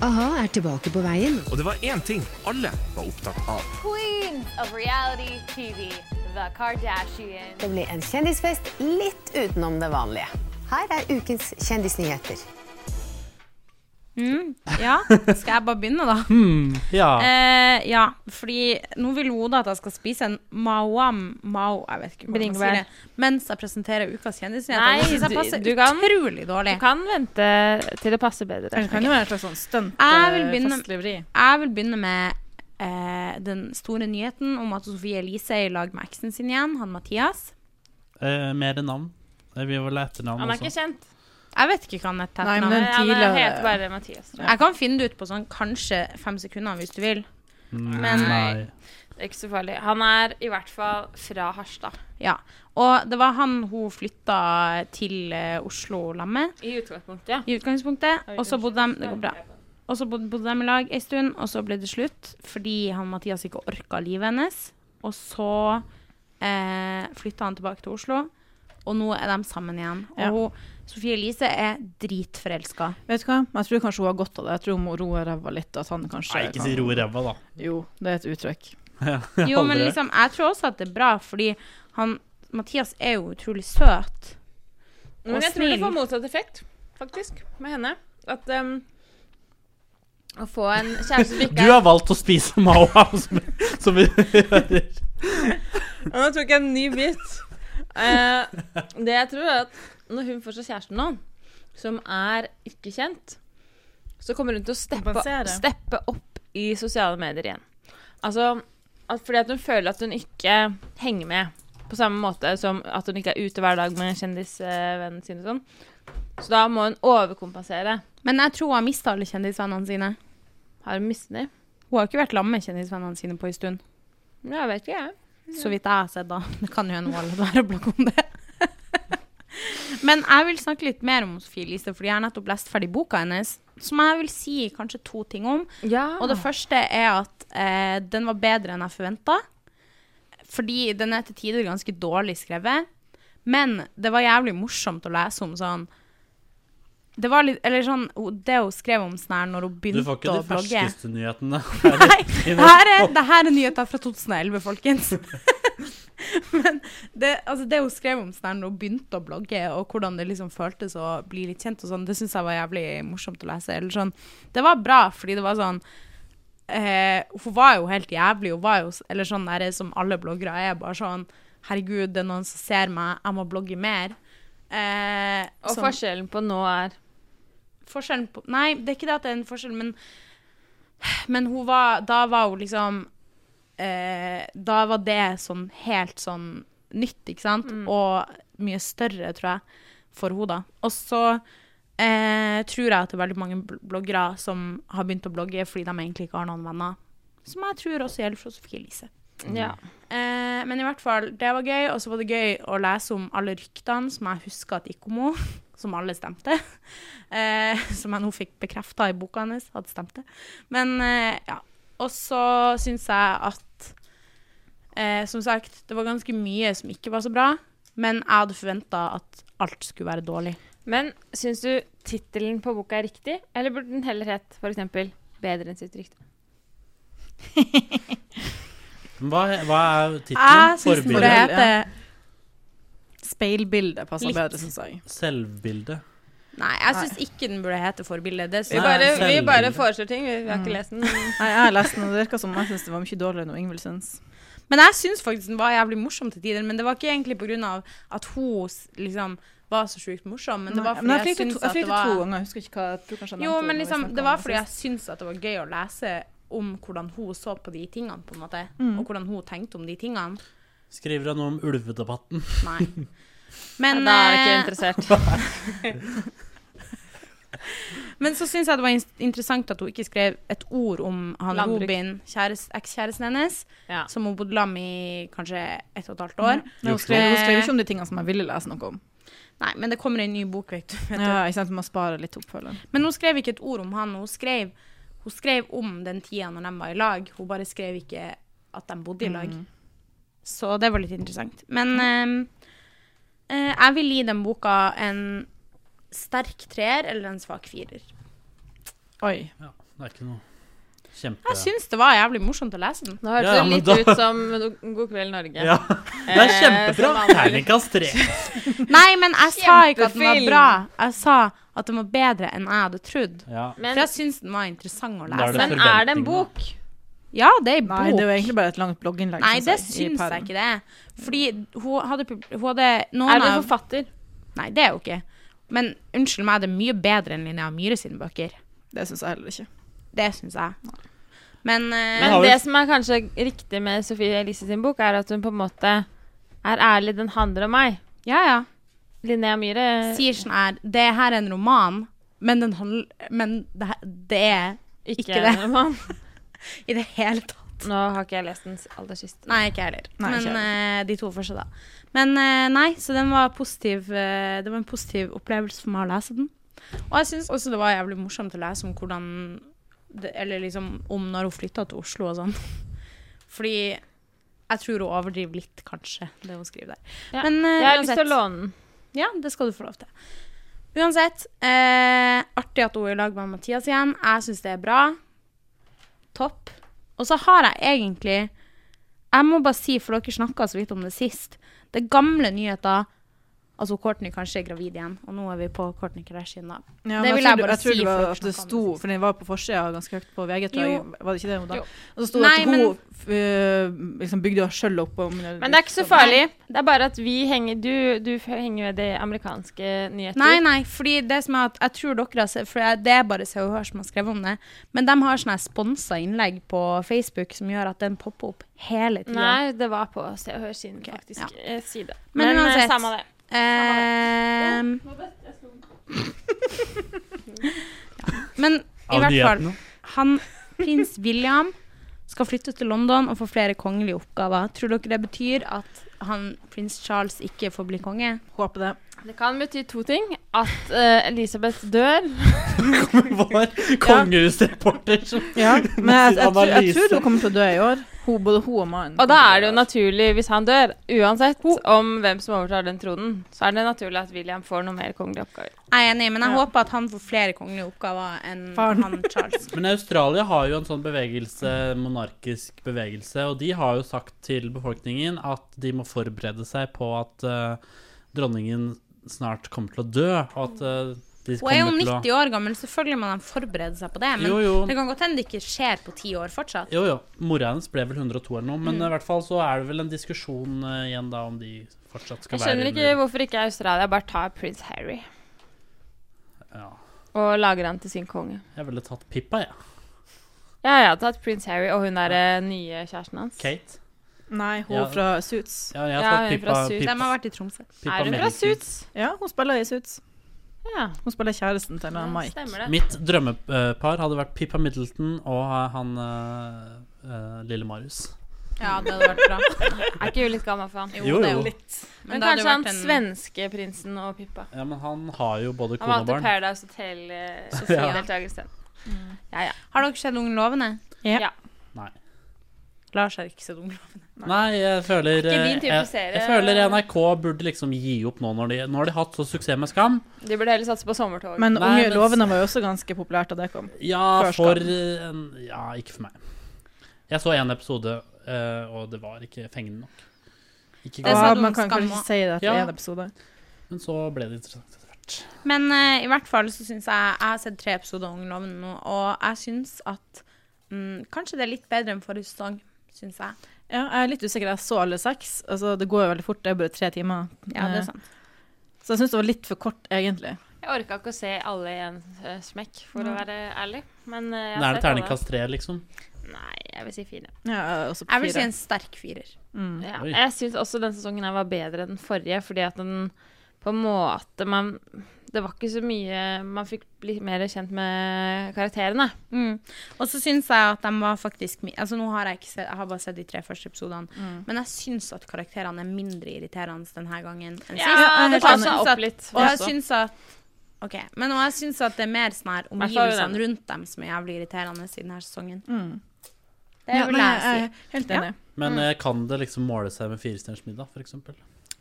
A-ha er tilbake på veien.
Og det var én ting alle var opptatt av.
Queens of reality TV, The Kardashians.
Det blir en kjendisfest litt utenom det vanlige. Her er ukens kjendisnyheter.
Ja, skal jeg bare begynne, da?
Ja.
Eh, ja, fordi nå vil Oda at jeg skal spise en mauam mau, jeg vet ikke hvordan man
Bringebær.
sier det, mens jeg presenterer ukas kjendisnyheter.
Nei,
det synes jeg
du-
passer
du kan-
utrolig dårlig.
Du kan vente til det passer bedre.
Det kan jo være et slags sånn stunt.
Jeg vil
eh,
begynne-
fastlivri.
Jeg vil begynne med eh, den store nyheten om at Sofie Elise er i lag med eksen sin igjen, han Mathias.
Eh, mer navn. Eh, Vi vil ha etternavn
Han er
også.
ikke kjent. Eh,
Jeg vet ikke hva han heter.
Nei,
etternavn.
men-
Han
tidligere-
heter bare Mathias. tror jeg.
Jeg kan finne det ut på sånn kanskje fem sekunder hvis du vil.
Men Nei.
Det er ikke så farlig. Han er i hvert fall fra Harstad.
Ja. Og det var han hun flytta til eh, Oslo sammen med,
I utgangspunktet, ja.
i utgangspunktet. Og så bodde de Det går bra. Og så bodde, bodde de i lag ei stund, og så ble det slutt fordi han Mathias ikke orka livet hennes. Og så eh, flytta han tilbake til Oslo, og nå er de sammen igjen. Og
Ja.
hun, Sofie Elise er dritforelska.
Vet du hva? Jeg tror kanskje hun har godt av det. Jeg tror hun må roe ræva litt. At han kanskje
Nei, ikke si ro i ræva, da.
Jo, det er et uttrykk.
Jo, men
Aldri.
liksom, jeg tror også at det er bra, fordi han Mathias er jo utrolig søt.
Men
Og
jeg tror det
snill.
får motsatt effekt, faktisk, med henne. At ehm, å få en kjæreste som
Du
ikke er
har valgt å spise mawa, som, som vi hører.
Og Nå tok jeg en ny bit. Eh, det jeg tror, er at når hun får seg kjæreste nå, som er ikke kjent, så kommer hun til å steppe,
Kompensere.
steppe opp i sosiale medier igjen. Altså at, fordi at hun føler at hun ikke henger med. På samme måte som at hun ikke er ute hver dag med kjendisvennene sine og sånn. Så da må hun overkompensere.
Men jeg tror hun har mista alle kjendisvennene sine.
Har hun mistet dem?
Hun har ikke vært sammen med kjendisvennene sine på en stund.
Jeg vet ikke, jeg.
Så vidt jeg har sett, da. Det kan jo hende hun har latt være å blogge om det. Men jeg vil snakke litt mer om Sofie Elise, fordi jeg har nettopp lest ferdig boka hennes. Som jeg vil si kanskje to ting om.
Ja.
Og det første er at eh, den var bedre enn jeg forventa. Fordi den er til tider ganske dårlig skrevet. Men det var jævlig morsomt å lese om sånn Det var litt Eller sånn hun- Det hun skrev om sånn her når hun
Du
begynte å
får ikke
blogge
de ferskeste nyhetene.
Nei, det her er, det her er nyheter fra 2011, folkens. Men det, altså det hun skrev om sånn her når hun begynte å blogge, og hvordan det liksom føltes å bli litt kjent, og sånn, det syns jeg var jævlig morsomt å lese. Eller sånn. Det var bra, fordi det var sånn eh, Hun var jo helt jævlig. Hun var jo s- eller sånn der, som alle bloggere er, bare sånn Herregud, det er noen som ser meg, jeg må blogge mer. Eh,
og
sånn-
forskjellen på nå er
forskjellen på Nei, det er ikke det at det er en forskjell, men Men hun var Da var hun liksom eh, Da var det sånn helt sånn nytt, ikke sant? Og mye større, tror jeg, for henne, da. Og så eh, tror jeg at det er veldig mange bl- bloggere som har begynt å blogge fordi de egentlig ikke har noen venner. Som jeg tror også gjelder for Sofie Elise.
Ja.
Eh, men i hvert fall, det var gøy. Og så var det gøy å lese om alle ryktene som jeg husker at gikk om henne. Som alle stemte. Eh, som jeg nå fikk bekrefta i boka hennes at stemte. Men eh, ja. Og så syns jeg at eh, Som sagt, det var ganske mye som ikke var så bra. Men jeg hadde forventa at alt skulle være dårlig.
Men syns du tittelen på boka er riktig, eller burde den heller hett f.eks. 'Bedre enn sitt rykte'?
Hva, hva er tittelen?
Jeg syns den
Forbilde.
burde
Forbilde?
det-
hete
Speilbildet passer
Litt.
bedre, syns jeg.
Selvbilde?
Nei, jeg syns ikke den burde hete 'Forbilde'. Det
Vi
Nei,
synes
bare,
jeg-
vi
selvbilde.
bare foreslår ting. Vi, vi har ikke lest den.
Nei, jeg har lest den, og det virker som jeg syns det var mye dårligere enn Ingvild syns.
Men jeg syns faktisk den var jævlig morsom til tider. Men det var ikke egentlig pga. at hun s- liksom var så sjukt morsom, men det var fordi
Nei,
jeg,
jeg fikk det
syns
to- jeg
at
fikk
det
det to
var
ganger. Jeg husker ikke hva jeg tror kanskje jeg
Jo,
nevnte
men
når vi
liksom,
snakket
det
om
var fordi jeg
sist.
syns at det var gøy å
Mm.
lese om hvordan hun så på de tingene, på en måte. Og hvordan hun tenkte om de tingene.
Skriver han noe om ulvedebatten?
Nei. Men,
Da er jeg ikke
eh,
interessert.
men så syns jeg det var in- interessant at hun ikke skrev et ord om han
Landbruk.
Robin, kjæres- ekskjæresten hennes,
Ja. Mhm.
som hun bodde sammen med i kanskje ett og et halvt år.
Hun skrev, hun skrev ikke om de tingene som jeg ville lese noe om.
Nei, men det kommer ei ny bok, vet du.
Ja, ikke sant? Du må spare litt oppfølgeren.
Men hun skrev ikke et ord om han. Hun skrev, hun skrev om den tida når de var i lag. Hun bare skrev ikke at de bodde i lag. Så det var litt interessant. Men ehm, eh, jeg vil gi den boka en sterk treer eller en svak firer.
Oi.
Ja, det er ikke noe kjempe...
Jeg syns det var jævlig morsomt å lese den.
Nå hørtes
Ja,
det
men
litt
da-
ut som God kveld, Norge.
Ja, det er kjempebra! Terningkast tre.
Nei, men jeg sa ikke at den var
Kjempefilm!
bra. Jeg sa at den var bedre enn jeg hadde trodd.
Ja.
For
Men,
jeg syns den var interessant å
Da er
men er
lese.
det en
forventningene.
bok?
Ja, det er ei
Nei, det
bok.
var egentlig bare et langt blogginnlegg.
Nei,
synes
det
jeg, i
syns jeg
perm.
ikke det. er. Fordi hun hadde, pub- hun hadde noen
Er det en
av
forfatter?
Nei, det er jo ikke. Men unnskyld meg, det er mye bedre enn Linnea Myhre sine bøker.
Det syns jeg heller ikke.
Det syns jeg. Men, eh,
Men har
Men
vi-
det som er kanskje riktig med Sofie Elise sin bok, er at hun på en måte er ærlig. Den handler om meg.
ja, ja.
Linnea Myhre
Sier sånn her Det her er en roman, men, den handl men det, her- det er
ikke,
ikke det.
en roman.
i det hele tatt
Nå har ikke jeg lest den s- aller sist.
Nei, ikke jeg heller.
Nei,
men
ikke jeg
eh, de to første, da. Men eh, nei, så den var positiv. eh, det var en positiv opplevelse for meg å lese den. Og jeg syns også det var jævlig morsomt å lese om hvordan det, Eller liksom om når hun flytta til Oslo og sånn. Fordi jeg tror hun overdriver litt, kanskje, det hun skriver der.
Ja.
Men eh,
Jeg har lyst til å
uansett-
låne den.
ja, det skal du få lov til. Uansett, eh, artig at hun er i lag med Mathias igjen. Jeg syns det er bra. Topp. Og så har jeg egentlig Jeg må bare si, for dere snakka så vidt om det sist, det er gamle nyheter. Altså Courtney kanskje er gravid igjen, og nå er vi på Courtney Kardashian, da.
Ja,
Det
men
vil
jeg tror,
jeg bare
jeg tror
si
det
for
var
å
at det
snakke om
sto,
det sist.
for den var på forsida ganske høyt på VG, tror jeg.
Jo.
Var det ikke det? hun da?
Jo.
Og så sto det
Nei,
at hun øh, liksom bygde henne sjøl opp om
Men det er ikke så farlig. Det er bare at vi henger Du, du henger med de amerikanske nyheter.
Nei, nei, fordi det som er at jeg tror dere har sett For jeg- det er bare Se og Hør som har skrevet om det. Men de har sånne sponsa innlegg på Facebook som gjør at den popper opp hele tida.
Nei, det var på Se og Hør sin faktisk
ja.
eh, side.
Men
Men, eh,
uansett.
samme det.
Ehm, Men i
Av
hvert fall
nyhetene.
han, Prins William skal flytte til London og få flere kongelige oppgaver. Tror dere det betyr at han, prins Charles ikke får bli konge?
Håper det.
Det kan bety to ting. At eh, Elisabeth dør.
Vår kongehusreporter som
Ja, men jeg, jeg, tror- jeg
Analyse.
tror hun kommer til å dø i år. Hun, både hun og mannen.
Og da er det jo naturlig, hvis han dør, uansett om hvem som overtar den tronen, så er det naturlig at William får noen mer kongelige oppgaver.
Jeg er enig, men jeg håper at han får flere kongelige oppgaver enn
Faren.
han Charles.
Men Australia har jo en sånn bevegelse, monarkisk bevegelse, og de har jo sagt til befolkningen at de må forberede seg på at eh, dronningen snart kommer til å dø, og at eh, de
Hun er jo
kommer til å
90 år gammel, selvfølgelig må de forberede seg på det. Men
Jo, jo.
det kan godt hende det ikke skjer på ti år fortsatt.
Jo, jo. Mora hennes ble vel 102 eller noe, men
Mm.
i hvert fall så er det vel en diskusjon eh, igjen da om de fortsatt skal
Jeg
være eh,
skjønner ikke hvorfor ikke Australia bare tar prins Harry
Ja.
og lager han til sin konge.
Jeg ville tatt Pippa, jeg.
Ja, jeg har tatt prins Harry og hun er eh, nye kjæresten hans.
Kate.
Nei, hun
Ja.
fra Suits.
Ja, jeg har
Ja,
tatt
hun er
Pippa,
fra Suits.
De
Pippa,
har vært i Tromsø.
Pippa
er hun fra
Melisen.
Suits?
Ja, hun spiller i Suits.
Ja,
Hun spiller kjæresten til
ja,
han Mike.
stemmer det.
Mitt drømmepar hadde vært Pippa Middleton og eh, han eh, eh, lille Marius.
Ja, det hadde vært bra.
Er ikke hun litt gammel for han?
Jo,
det er
jo.
Men,
det hadde
kanskje han
vært en-
svenske prinsen og Pippa.
Ja, men han har jo både
Han
kone og
valgte
barn.
Paradise eh, Hotel-deltakelsen. ja, ja.
Har dere sett Ungen lovende?
Ja.
Ja.
Nei.
Lars har ikke sett Ungen lovende.
Nei, jeg føler, eh,
Ikke din type
jeg,
serie. eh.
jeg føler NRK burde liksom gi opp nå når de, nå har de hatt så suksess med Skam.
De burde heller satse på sommertog.
Men
Nei,
Unge
men-
lovende var jo også ganske populært da det kom.
Ja,
Før
for
Skam.
eh, en- Ja, ikke for meg. Jeg så én episode, eh, og det var ikke fengende nok. Ikke
Det
Og
galt.
sa du om
man kan
Skam
kanskje
også.
si det etter
Ja.
én episode.
Men så ble det interessant etter hvert.
Men eh, i hvert fall så syns jeg Jeg har sett tre episoder av Ung lovende nå, og jeg syns at mm, Kanskje det er litt bedre enn forrige sesong, syns jeg.
Ja, jeg er litt usikker. Jeg så alle seks. Altså, det går jo veldig fort. Det er bare tre timer.
Ja, det
Eh,
er sant.
Så jeg syns det var litt for kort, egentlig.
Jeg orka ikke å se alle i en eh, smekk, for å være ærlig. Men eh, jeg
Men
har
er det
sett alle.
terningkast tre, liksom?
Nei, jeg vil si fire.
Ja, jeg er også på
Jeg vil si
fire.
en sterk firer.
Ja,
Mm. Oi.
jeg syns også den sesongen her var bedre enn den forrige, fordi at den på en måte man, Det var ikke så mye Man fikk bli mer kjent med karakterene.
Mm. Og så syns jeg at de var faktisk mi- Altså nå har jeg ikke sett Jeg har bare sett de tre første episodene, men jeg syns at karakterene er mindre irriterende denne gangen enn sist.
jeg er helt
det tar
enig.
seg opp litt.
Og jeg
også.
syns at OK. Men og jeg syns at det er mer sånn her
hvert fall
omgivelsene
den.
rundt dem som er jævlig irriterende i denne sesongen.
Mm.
Det
Ja,
vil
nei,
jeg si.
er Helt enig.
Mm.
Men eh, kan det liksom måle seg med Firestjerners middag, f.eks.?
Det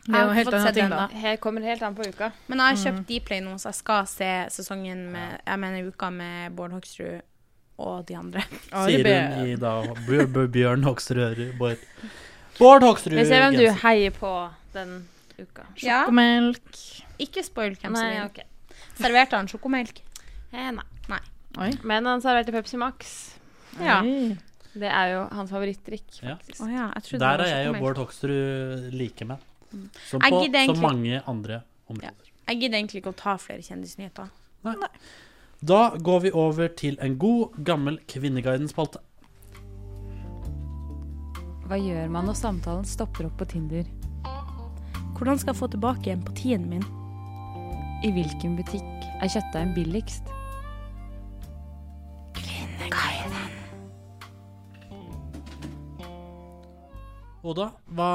er
Jeg
jo
har
helt
fått
annen
sett
ting,
den
da.
da.
Her kommer helt an på uka.
Men jeg har kjøpt Dplay nå, så jeg skal se sesongen med Jeg mener uka med Bård Hoksrud og de andre.
Sier hun i da Bjør- Bjør- Bjørn Hoksrud Bård Bård Hoksrud
Vi ser hvem du
Jensen.
heier på den uka.
Ja.
Sjokomelk.
Ikke spoil hvem som
Nei,
vinner.
ok.
Serverte han sjokomelk?
Eh, nei.
Oi.
Men han serverte Pepsi Max.
Ja.
Oi.
Det er jo hans favorittdrikk,
Ja.
faktisk.
Å ja, jeg
Der
trodde det var
er jeg og
sjokomelk.
Bård Hoksrud like med. Som
Mm. Jeg
på
gidder
så
egentlig-
mange andre områder.
Jeg gidder egentlig ikke å ta flere kjendisnyheter.
Da går vi over til en god, gammel Kvinneguiden-spalte.
Hva gjør man når samtalen stopper opp på Tinder?
Hvordan skal jeg få tilbake empatien min?
I hvilken butikk er kjøttdeigen billigst?
Oda, hva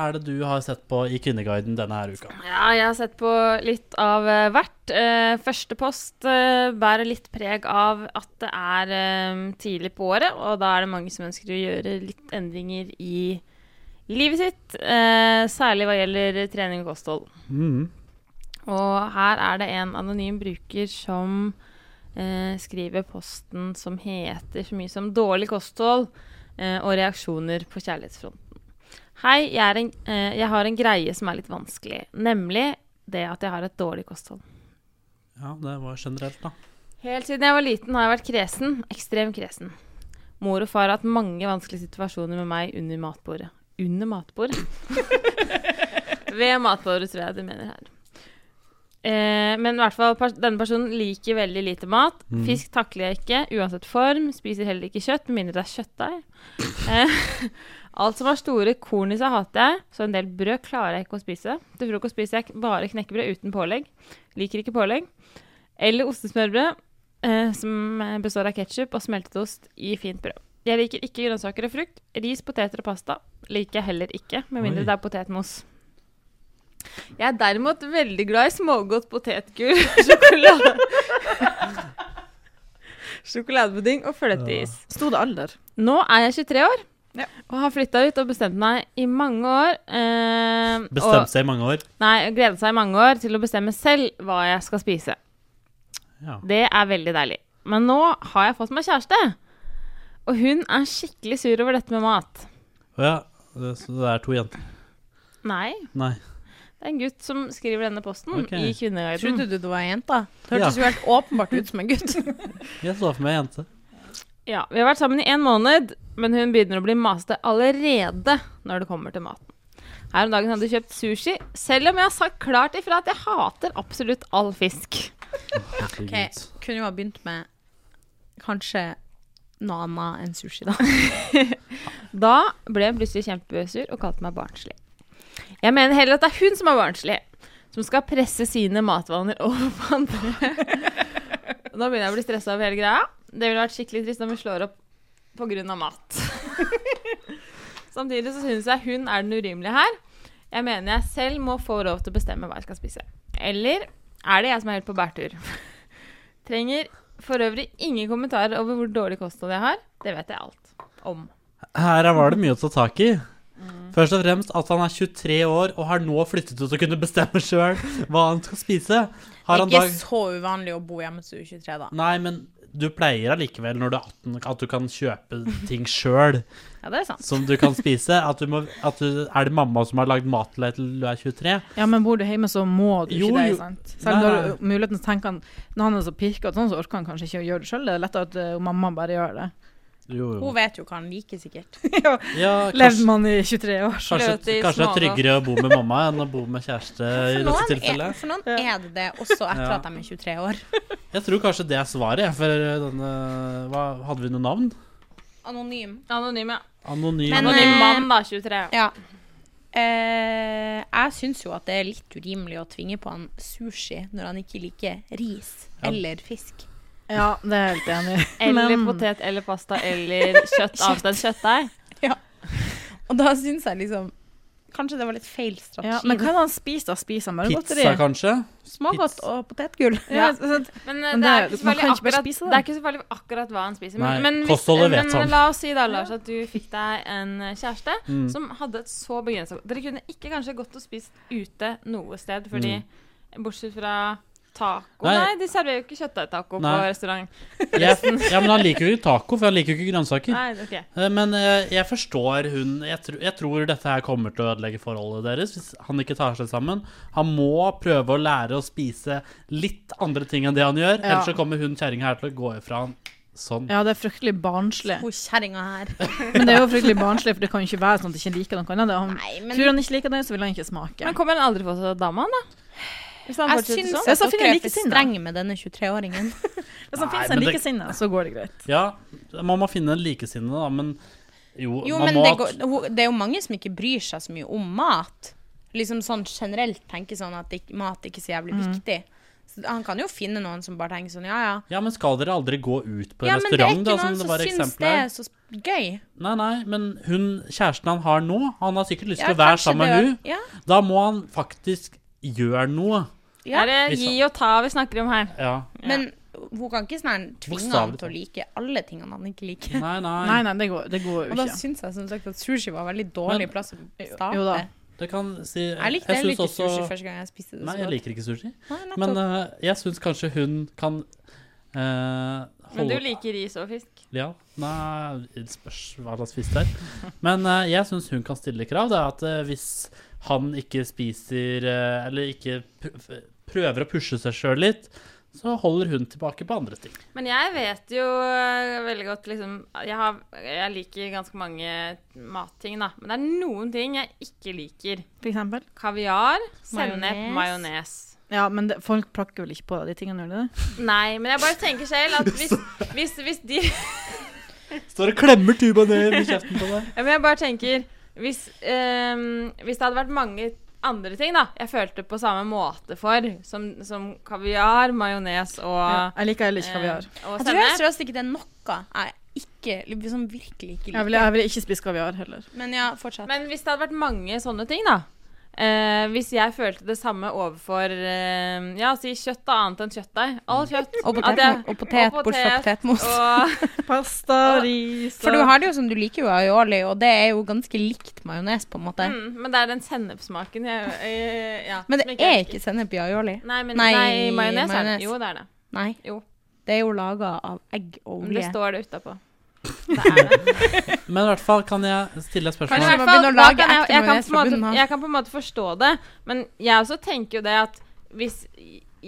er det du har sett på i Kvinneguiden denne her uka?
Ja, jeg har sett på litt av eh, hvert. Eh, Første post eh, bærer litt preg av at det er eh, tidlig på året, og da er det mange som ønsker å gjøre litt endringer i livet sitt. eh, Særlig hva gjelder trening og kosthold. Og her er det en anonym bruker som eh, skriver posten som heter så mye som 'dårlig kosthold' eh, og reaksjoner på kjærlighetsfronten. Hei, jeg, er en, eh, jeg har en greie som er litt vanskelig, nemlig det at jeg har et dårlig kosthold.
Ja, det var generelt, da.
Helt siden jeg var liten har jeg vært kresen, ekstrem kresen. Mor og far har hatt mange vanskelige situasjoner med meg under matbordet. Under matbordet? Ved matbordet, tror jeg de mener her. Eh, men i hvert fall, pers denne personen liker veldig lite mat. Fisk takler jeg ikke, uansett form. Spiser heller ikke kjøtt, med mindre det er kjøttdeig. Eh, alt som har store korn i seg, hater jeg, så en del brød klarer jeg ikke å spise. Til frokost spiser jeg k- bare knekkebrød uten pålegg. Liker ikke pålegg. Eller ostesmørbrød, eh, som eh, består av ketsjup og smeltet ost i fint brød. Jeg liker ikke grønnsaker og frukt. Ris, poteter og pasta liker jeg heller ikke, med mindre
Oi.
det er potetmos. Jeg er derimot veldig glad i smågodt potetgull, sjokolade Sjokoladepudding og fløteis.
Sto det alder?
Nå er jeg 23 år
Ja.
og har flytta ut og bestemt meg i mange år eh,
Bestemt seg i mange år.
Og, nei, gleda seg i mange år til å bestemme selv hva jeg skal spise.
Ja.
Det er veldig deilig. Men nå har jeg fått meg kjæreste, og hun er skikkelig sur over dette med mat.
Å ja, det- så det er to jenter.
Nei,
Nei.
det er en gutt som skriver denne posten
Ok.
i Kvinneguiden.
Trodde du det var ei jente? Det
Ja.
hørtes jo helt åpenbart ut som en gutt.
Jeg så for meg en jente.
Ja, Vi har vært sammen i en måned, men hun begynner å bli masete allerede når det kommer til maten. Her om dagen hadde hun kjøpt sushi, selv om jeg har sagt klart ifra at jeg hater absolutt all fisk.
Ok, Eh, Kunne jo ha begynt med kanskje noe annet enn sushi, da.
Da ble hun plutselig kjempesur og kalte meg barnslig. Jeg mener heller at det er hun som er barnslig, som skal presse sine matvaner over på andre. Nå begynner jeg å bli stressa over hele greia. Det ville vært skikkelig trist om vi slår opp pga. mat. Samtidig så syns jeg hun er den urimelige her. Jeg mener jeg selv må få lov til å bestemme hva jeg skal spise. Eller er det jeg som er helt på bærtur? Trenger for øvrig ingen kommentarer over hvor dårlig kosthold jeg har. Det vet jeg alt om.
Her var det mye å ta tak i.
Mm.
Først og fremst at han er 23 år og har nå flyttet ut og kunne bestemme sjøl hva han skal spise. Har han
Det er
dag...
ikke så uvanlig å bo hjemme til du er 23, da.
Nei, men du pleier allikevel, når du er 18, at du kan kjøpe ting sjøl
Ja, det er sant.
som du kan spise. At du må, at du, er det mamma som har lagd mat til deg til du er 23?
Ja, men bor du hjemme, så må du
Jo,
ikke det.
jo.
sant? Selv om du har
Nei.
muligheten, så tenker han Når han er så pirkete sånn, så orker han kanskje ikke å gjøre det sjøl. Det er lettere at eh, mamma bare gjør det.
Jo, jo.
Hun vet jo hva han liker, sikkert.
Ja,
Levde
kanskje,
man i 23 år, så
kanskje,
Løte i
kanskje det er
smala.
tryggere å bo med mamma enn å bo med kjæreste i
For
dette
noen, er,
tilfellet.
for noen er det det, også etter
Ja.
at de er 23 år.
Jeg tror kanskje det er svaret, jeg, for denne hva, Hadde vi noe navn?
Anonym.
Anonym, ja.
Anonym.
Men,
Anonym
eh,
mann, da. 23.
Ja. Eh, jeg syns jo at det er litt urimelig å tvinge på han sushi når han ikke liker ris
Ja.
eller fisk.
Ja, det er jeg helt enig i.
Eller
Men-
potet eller pasta eller kjøtt annet enn kjøttdeig.
Og da syns jeg liksom Kanskje det var litt feil strategi.
Ja, men hva er det han spiser da? Spiser han
Pizza,
smørgodteri?
kanskje?
Smågodt
Pizza.
og potetgull.
Ja, sant?
Men, eh,
Men
det, er
det er-
ikke
man kan
selvfølgelig
ikke bare
akkurat,
spise det.
det er ikke selvfølgelig akkurat hva han spiser. Men,
Nei,
men, hvis,
kostholdet vet han. Mm.
men la oss si da, Lars, at du fikk deg en kjæreste som hadde et så begrensa Dere kunne ikke kanskje gått og spist ute noe sted, fordi bortsett fra taco Nei,
Mm. Nei.
de serverer jo ikke kjøttdeigtaco på
Nei.
restaurant.
Ja, ja, men han liker jo ikke taco, for han liker jo ikke grønnsaker.
Nei, ok.
Eh, Men eh, jeg forstår hun jeg, tr jeg tror dette her kommer til å ødelegge forholdet deres hvis han ikke tar seg sammen. Han må prøve å lære å spise litt andre ting enn det han gjør,
Ja.
ellers så kommer hun kjerringa her til å gå ifra han sånn.
ja, det er fryktelig barnslig.
Hun kjerringa her.
Men det er jo fryktelig barnslig, for det kan jo ikke være sånn at de ikke liker noe annet. Han,
Nei, men
tror han ikke liker det, så vil han ikke smake.
Men kommer han aldri få seg dame, han, da? Hvis han
jeg
fortsetter
syns
sånn?
Jeg sa
at
Finn er
dere er
like
for
sinna.
strenge med denne 23-åringen.
Hvis han finnes
Nei,
en
men det-
likesinne, så går det greit.
Ja, man må finne en likesinne, da, men jo,
Jo,
man
men
må
det, går, hun- det er jo mange som ikke bryr seg så mye om mat. Liksom sånn generelt tenker sånn at ikk- mat ikke er så
Mm.
jævlig viktig. Så han kan jo finne noen som bare tenker sånn, ja ja.
Ja, men skal dere aldri gå ut på
Ja, men det er
restaurant,
ikke
da,
noen
som det
som
var
syns
eksempel
det
her?
er så sp- gøy.
Nei, nei, men hun, kjæresten han har nå, han har sikkert lyst
Ja,
til å være
kanskje
sammen med hun.
det- Ja,
Da må han faktisk gjøre noe.
ja.
Er det
Hvis han-
gi og ta vi snakker om her?
Ja.
Men hun kan ikke sånn tvinge han
Bokstavelig
til å like alle tingene han ikke liker.
Nei,
Nei,
nei.
nei, det går, det går
Og
jo
da
ikke.
syns jeg som sagt at sushi var veldig dårlig
Men-
plass å
Jo da.
starte.
Det kan si
Jeg likte heller
synes
ikke sushi første gang jeg spiste det.
Nei,
så
jeg
godt.
liker ikke sushi.
Nei, nettopp.
Men eh, jeg syns kanskje hun kan eh,
Men du
holde
liker ris og fisk?
Ja. Nei, det spørs hva slags fisk det er. Men eh, jeg syns hun kan stille krav. Det er at eh, hvis han ikke spiser eh, Eller ikke pr- prøver å pushe seg sjøl litt, så holder hun tilbake på andre ting.
Men jeg vet jo øh, veldig godt liksom, jeg, har, jeg liker ganske mange matting, da. Men det er noen ting jeg ikke liker.
For eksempel.
Kaviar, sennep,
Majones.
majones.
Ja, men det, folk plakker vel ikke på de tingene, gjør de det?
Nei, men jeg bare tenker selv at hvis, hvis, hvis de
Står og klemmer tuba ned i kjeften på deg.
Ja, Men jeg bare tenker hvis, øhm, hvis det hadde vært mange andre ting da jeg følte på samme måte for, som, som kaviar, majones og,
Ja, jeg liker heller ikke kaviar.
eh, og
Jeg tror helt
sennep.
seriøst ikke det er noe jeg ikke, liksom virkelig ikke
Jeg
liker.
vil, jeg vil ikke spise kaviar heller.
Men ja, fortsett.
Men hvis det hadde vært mange sånne ting, da. eh, hvis jeg følte det samme overfor eh, Ja, si kjøtt da, annet enn kjøttdeig. All kjøtt. At
og potet,
jeg-
og potet,
og
bort fra potetmos.
Og,
Pasta, ris
For du har det jo som du liker jo aioli, og det er jo ganske likt majones, på en måte.
mm, men det er den sennepsmaken jeg eh, ja,
Men
som
det
jeg
er
liker.
ikke sennep i aioli.
Nei, men,
Nei,
nei, majones er det.
majones.
Jo, det er det.
Nei.
Jo.
Det er jo laga av egg og
Men det
olje.
står det utapå. Det er det.
Men i hvert fall kan jeg stille et
Kanskje
spørsmål.
Men i
man
hvert fall,
begynner å
da kan
lage
jeg,
ekte
jeg, kan
majones
på
fra
en
bunnen av.
måte, jeg kan på en måte forstå det, men jeg også tenker jo det at hvis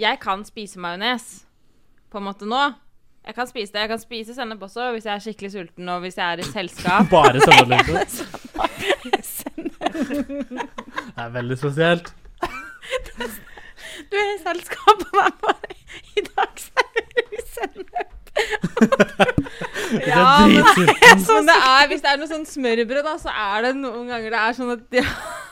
jeg kan spise majones på en måte nå Jeg kan spise det. Jeg kan spise sennep også hvis jeg er skikkelig sulten og hvis jeg er i selskap.
Bare senneplinker. Det er veldig spesielt.
Du er i selskap med meg bare i dag, seriøst.
Det er dritsulten.
Men det er, hvis det er noe sånn smørbrød, da, så er det noen ganger det er sånn at de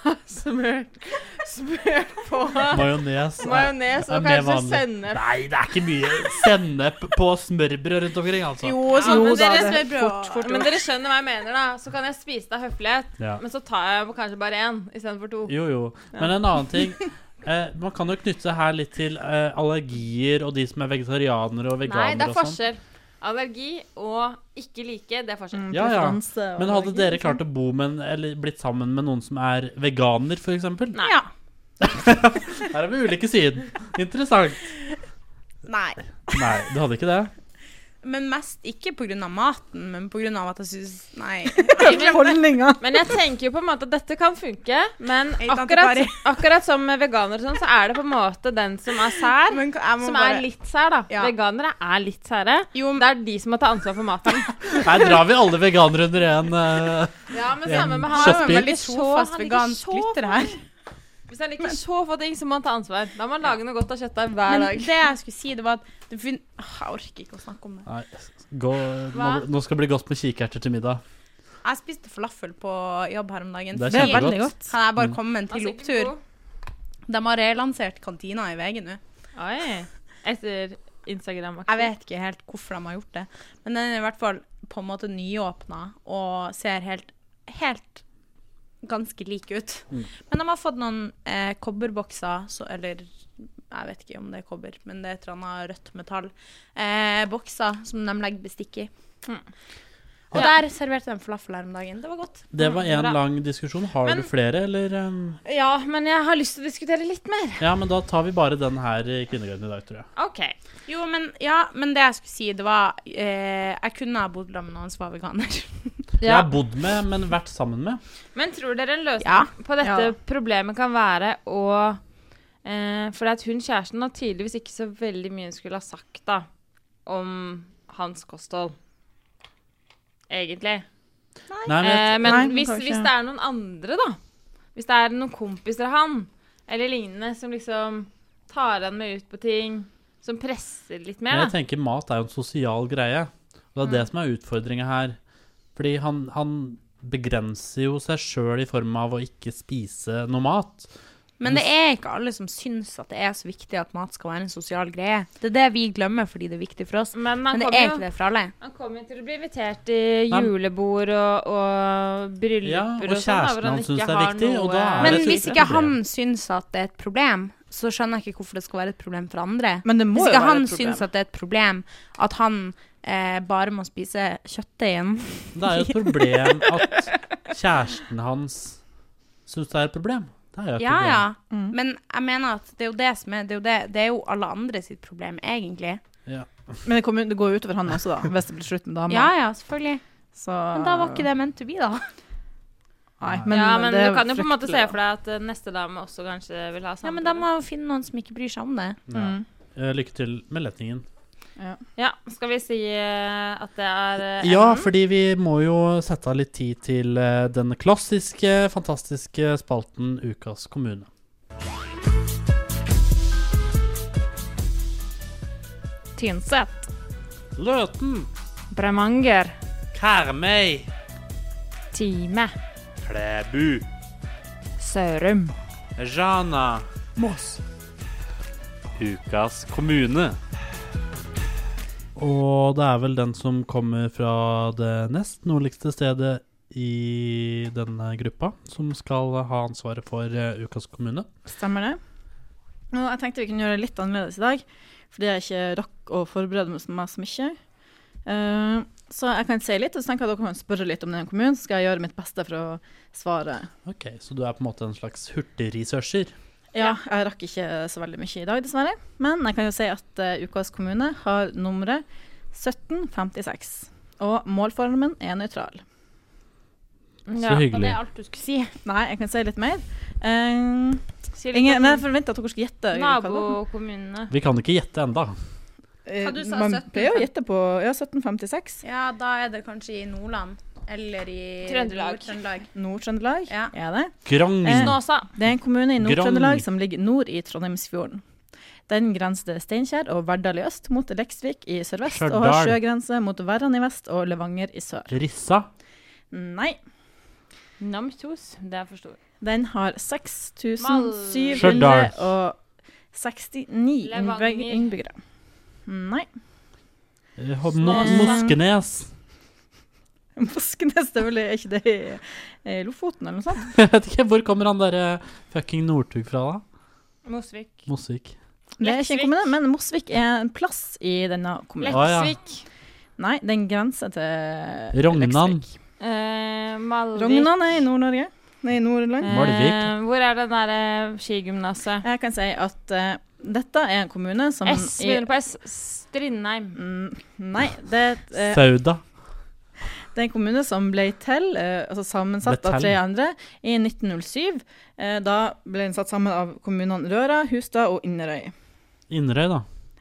har smørt, smørt på
Majones er-
majones
er
og
mer
kanskje
vanlig.
sennep.
Nei, det er ikke mye sennep på smørbrød rundt omkring, altså.
Jo,
Ja, men
da,
dere
det er
smørbrød.
fort, fort
Men dere skjønner hva jeg mener, da. Så kan jeg spise det av høflighet,
Ja.
men så tar jeg kanskje bare én istedenfor to.
Jo, jo. Men en annen ting eh, Man kan jo knytte seg her litt til eh, allergier og de som er vegetarianere og
Nei, det
veganere
er
og sånn.
forskjell. Allergi og ikke like, det er forskjell.
Ja, ja.
preferanse og
Men hadde
allergi,
dere
liksom.
klart å bo med en, eller blitt sammen med noen som er veganer, f.eks.?
Nei.
Ja.
Her er vi ulike siden. Interessant.
Nei.
Nei, du hadde ikke det?
Men mest ikke pga. maten, men pga. at jeg syns Nei.
Holdninga.
Men jeg tenker jo på en måte at dette kan funke, men
Hei, tante
akkurat,
Kari.
akkurat som med veganere og sånn, så er det på en måte den som er sær,
Men jeg må
som
bare
er litt sær, da.
Ja.
Veganere er litt sære.
Jo,
Det er de som må ta ansvar for maten.
Her drar vi alle veganere under én. eh,
Ja, men
Ja,
samme med han.
kjøttbil.
Han er jo en veldig
Ikke så-
trofast
sånn, han er ikke
vegansk
så
lytter her.
Hvis han liker så få ting, så må han ta ansvar. Da må han lage noe godt av kjøttdeig hver
Men
dag.
det jeg skulle si, det var at det fin Åh, Jeg orker ikke å snakke om det.
Nei, gå, nå,
Hva?
nå skal det bli godt med kikerter til middag.
Jeg spiste falafel på jobb her om dagen.
Det er
Det er
fordi-
kjempegodt. Mm.
veldig godt.
Kan jeg bare komme med en til
Altså,
opptur?
god.
De har relansert kantina i VG nå.
Oi. Etter instagram
Jeg vet ikke helt hvorfor de har gjort det, men den er i hvert fall på en måte nyåpna og ser helt, helt ganske lik ut. Men de har fått noen eh, kobberbokser, så, eller jeg vet ikke om det er kobber, men det er et eller annet rødt metall. Eh, bokser som de legger bestikk i. Og der serverte de falafel her om dagen. Det var godt.
Det var en
bra.
lang diskusjon. Har
Men-
du flere, eller um,
Ja, men jeg har lyst til å diskutere litt mer.
Ja, men da tar vi bare den her i Kvinneguiden i dag, tror jeg.
OK.
Jo, men, ja, men det jeg skulle si, det var eh, Jeg kunne ha bodd sammen med noen som var veganer.
Jeg
Ja.
har bodd med, men vært sammen med.
Men tror dere en løsning
Ja.
på dette
Ja.
problemet kan være å eh, For at hun kjæresten har tydeligvis ikke så veldig mye hun skulle ha sagt da, om hans kosthold. Egentlig.
Nei, men jeg,
Eh, men
Nei,
hvis,
kanskje.
hvis det er noen andre, da. Hvis det er noen kompiser av han, eller lignende, som liksom tar han med ut på ting, som presser litt
men
mer,
jeg
da.
tenker mat er jo en sosial greie. Og det er det som er utfordringa her. Fordi han, han begrenser jo seg sjøl i form av å ikke spise noe mat.
Men det er ikke alle som syns at det er så viktig at mat skal være en sosial greie. Det er det vi glemmer fordi det er viktig for oss.
Men han
Men det
kommer
er
jo
ikke det for alle.
han kommer jo til å bli invitert i julebord og, og brylluper
Ja, og
og, sånn. da, hvor
kjæresten hans
ikke
synes det er
har
viktig, og da er
Men
det et
hvis
stort
ikke
problem.
han syns at det er et problem, så skjønner jeg ikke hvorfor det skal være et problem for andre.
Men det må
Hvis
jo
ikke
være
han
et problem.
syns at det er et problem at han eh, bare må spise kjøttdeigen
Det er jo et problem at kjæresten hans syns det er et problem. Det er jo et
Ja,
problem.
ja. Men jeg mener at det er jo det som er Det er jo, det, det er jo alle andre sitt problem, egentlig.
Men det, kommer, det går jo utover han også, da, hvis det blir slutt med dama.
Ja, ja, selvfølgelig.
Så,
Men da var ikke det ment to be, da.
Nei,
ja, men
det er
du kan jo på en måte se
fryktelig,
for deg at eh, neste dame også kanskje vil ha
Ja,
samme
men da må jeg jo finne noen som ikke bryr seg om det.
Ja.
Mm.
Eh, Lykke til med letningen.
Ja, skal vi si eh, at det er eh,
Ja,
enden?
fordi vi må jo sette av litt tid til eh, den klassiske, fantastiske spalten Ukas kommune.
Tynset,
Løten,
Bremanger,
Karmøy,
Time,
Klæbu,
Sørum.
Rana, Moss. Ukas kommune. Og det er vel den som kommer fra det nest nordligste stedet i denne gruppa, som skal ha ansvaret for eh, ukas kommune.
Stemmer det. Og jeg tenkte vi kunne gjøre det litt annerledes i dag, fordi jeg ikke rakk å forberede meg så- meg så mye. Eh, så jeg kan si litt, og så tenker jeg at dere kan spørre litt om den kommunen, så skal jeg gjøre mitt beste for å svare.
Ok, Så du er på en måte en slags hurtigresearcher?
Ja, jeg rakk ikke så veldig mye i dag, dessverre. Men jeg kan jo si at eh, ukas kommune har nummeret 1756. Og målformen er nøytral.
Så hyggelig.
alt du skulle si.
Nei, jeg kan si litt mer. Eh,
Si litt
ingen,
om
nei, jeg forventer at dere skal gjette.
Nabokommunene.
Vi kan ikke gjette enda.
Eh,
Hva du sa,
Man
1750?
pleier å gjette på ja, 1756.
Ja, da er det kanskje i Nordland. Eller i
Trøndelag.
Nord-Trøndelag.
Nord-Trøndelag
Ja.
er det.
Grong.
Eh,
Snåsa.
Det er en kommune i
Grong.
Nord-Trøndelag som ligger nord i Trondheimsfjorden. Den grenser til Steinkjer og Verdal i øst mot Leksvik i sørvest, og har
Stjørdal.
sjøgrense mot Verran i vest og Levanger i sør.
Rissa.
Nei,
Namtos. Det er for stor.
den har
Stjørdal.
6769 innbygg-
Levanger.
innbyggere. Nei.
Eh, Ho- Mo- Moskenes.
Moskenes, det er vel ikke det i, i Lofoten eller noe sånt?
Jeg vet ikke, hvor kommer han derre fucking Northug fra, da?
Mosvik.
Mosvik.
Det er ikke en kommune, men Mosvik er en plass i denne kommunen.
Å, ja.
Leksvik.
Nei, den grenser til
Rognan.
Leksvik.
Eh, Malvik.
Rognan er i Nord-Norge. Nei, Nordland.
Eh,
Malvik.
hvor er det derre skigymnaset?
Jeg kan si at eh, dette er en kommune som
S.
i-
Begynner på S. Strindheim.
Mm, Nei, det, er et, eh,
Sauda.
det er en kommune som ble til, eh, altså sammensatt
Ble
av
til.
tre andre, i 1907. Eh, da ble den satt sammen av kommunene Røra, Hustad og Inderøy.
Inderøy, da.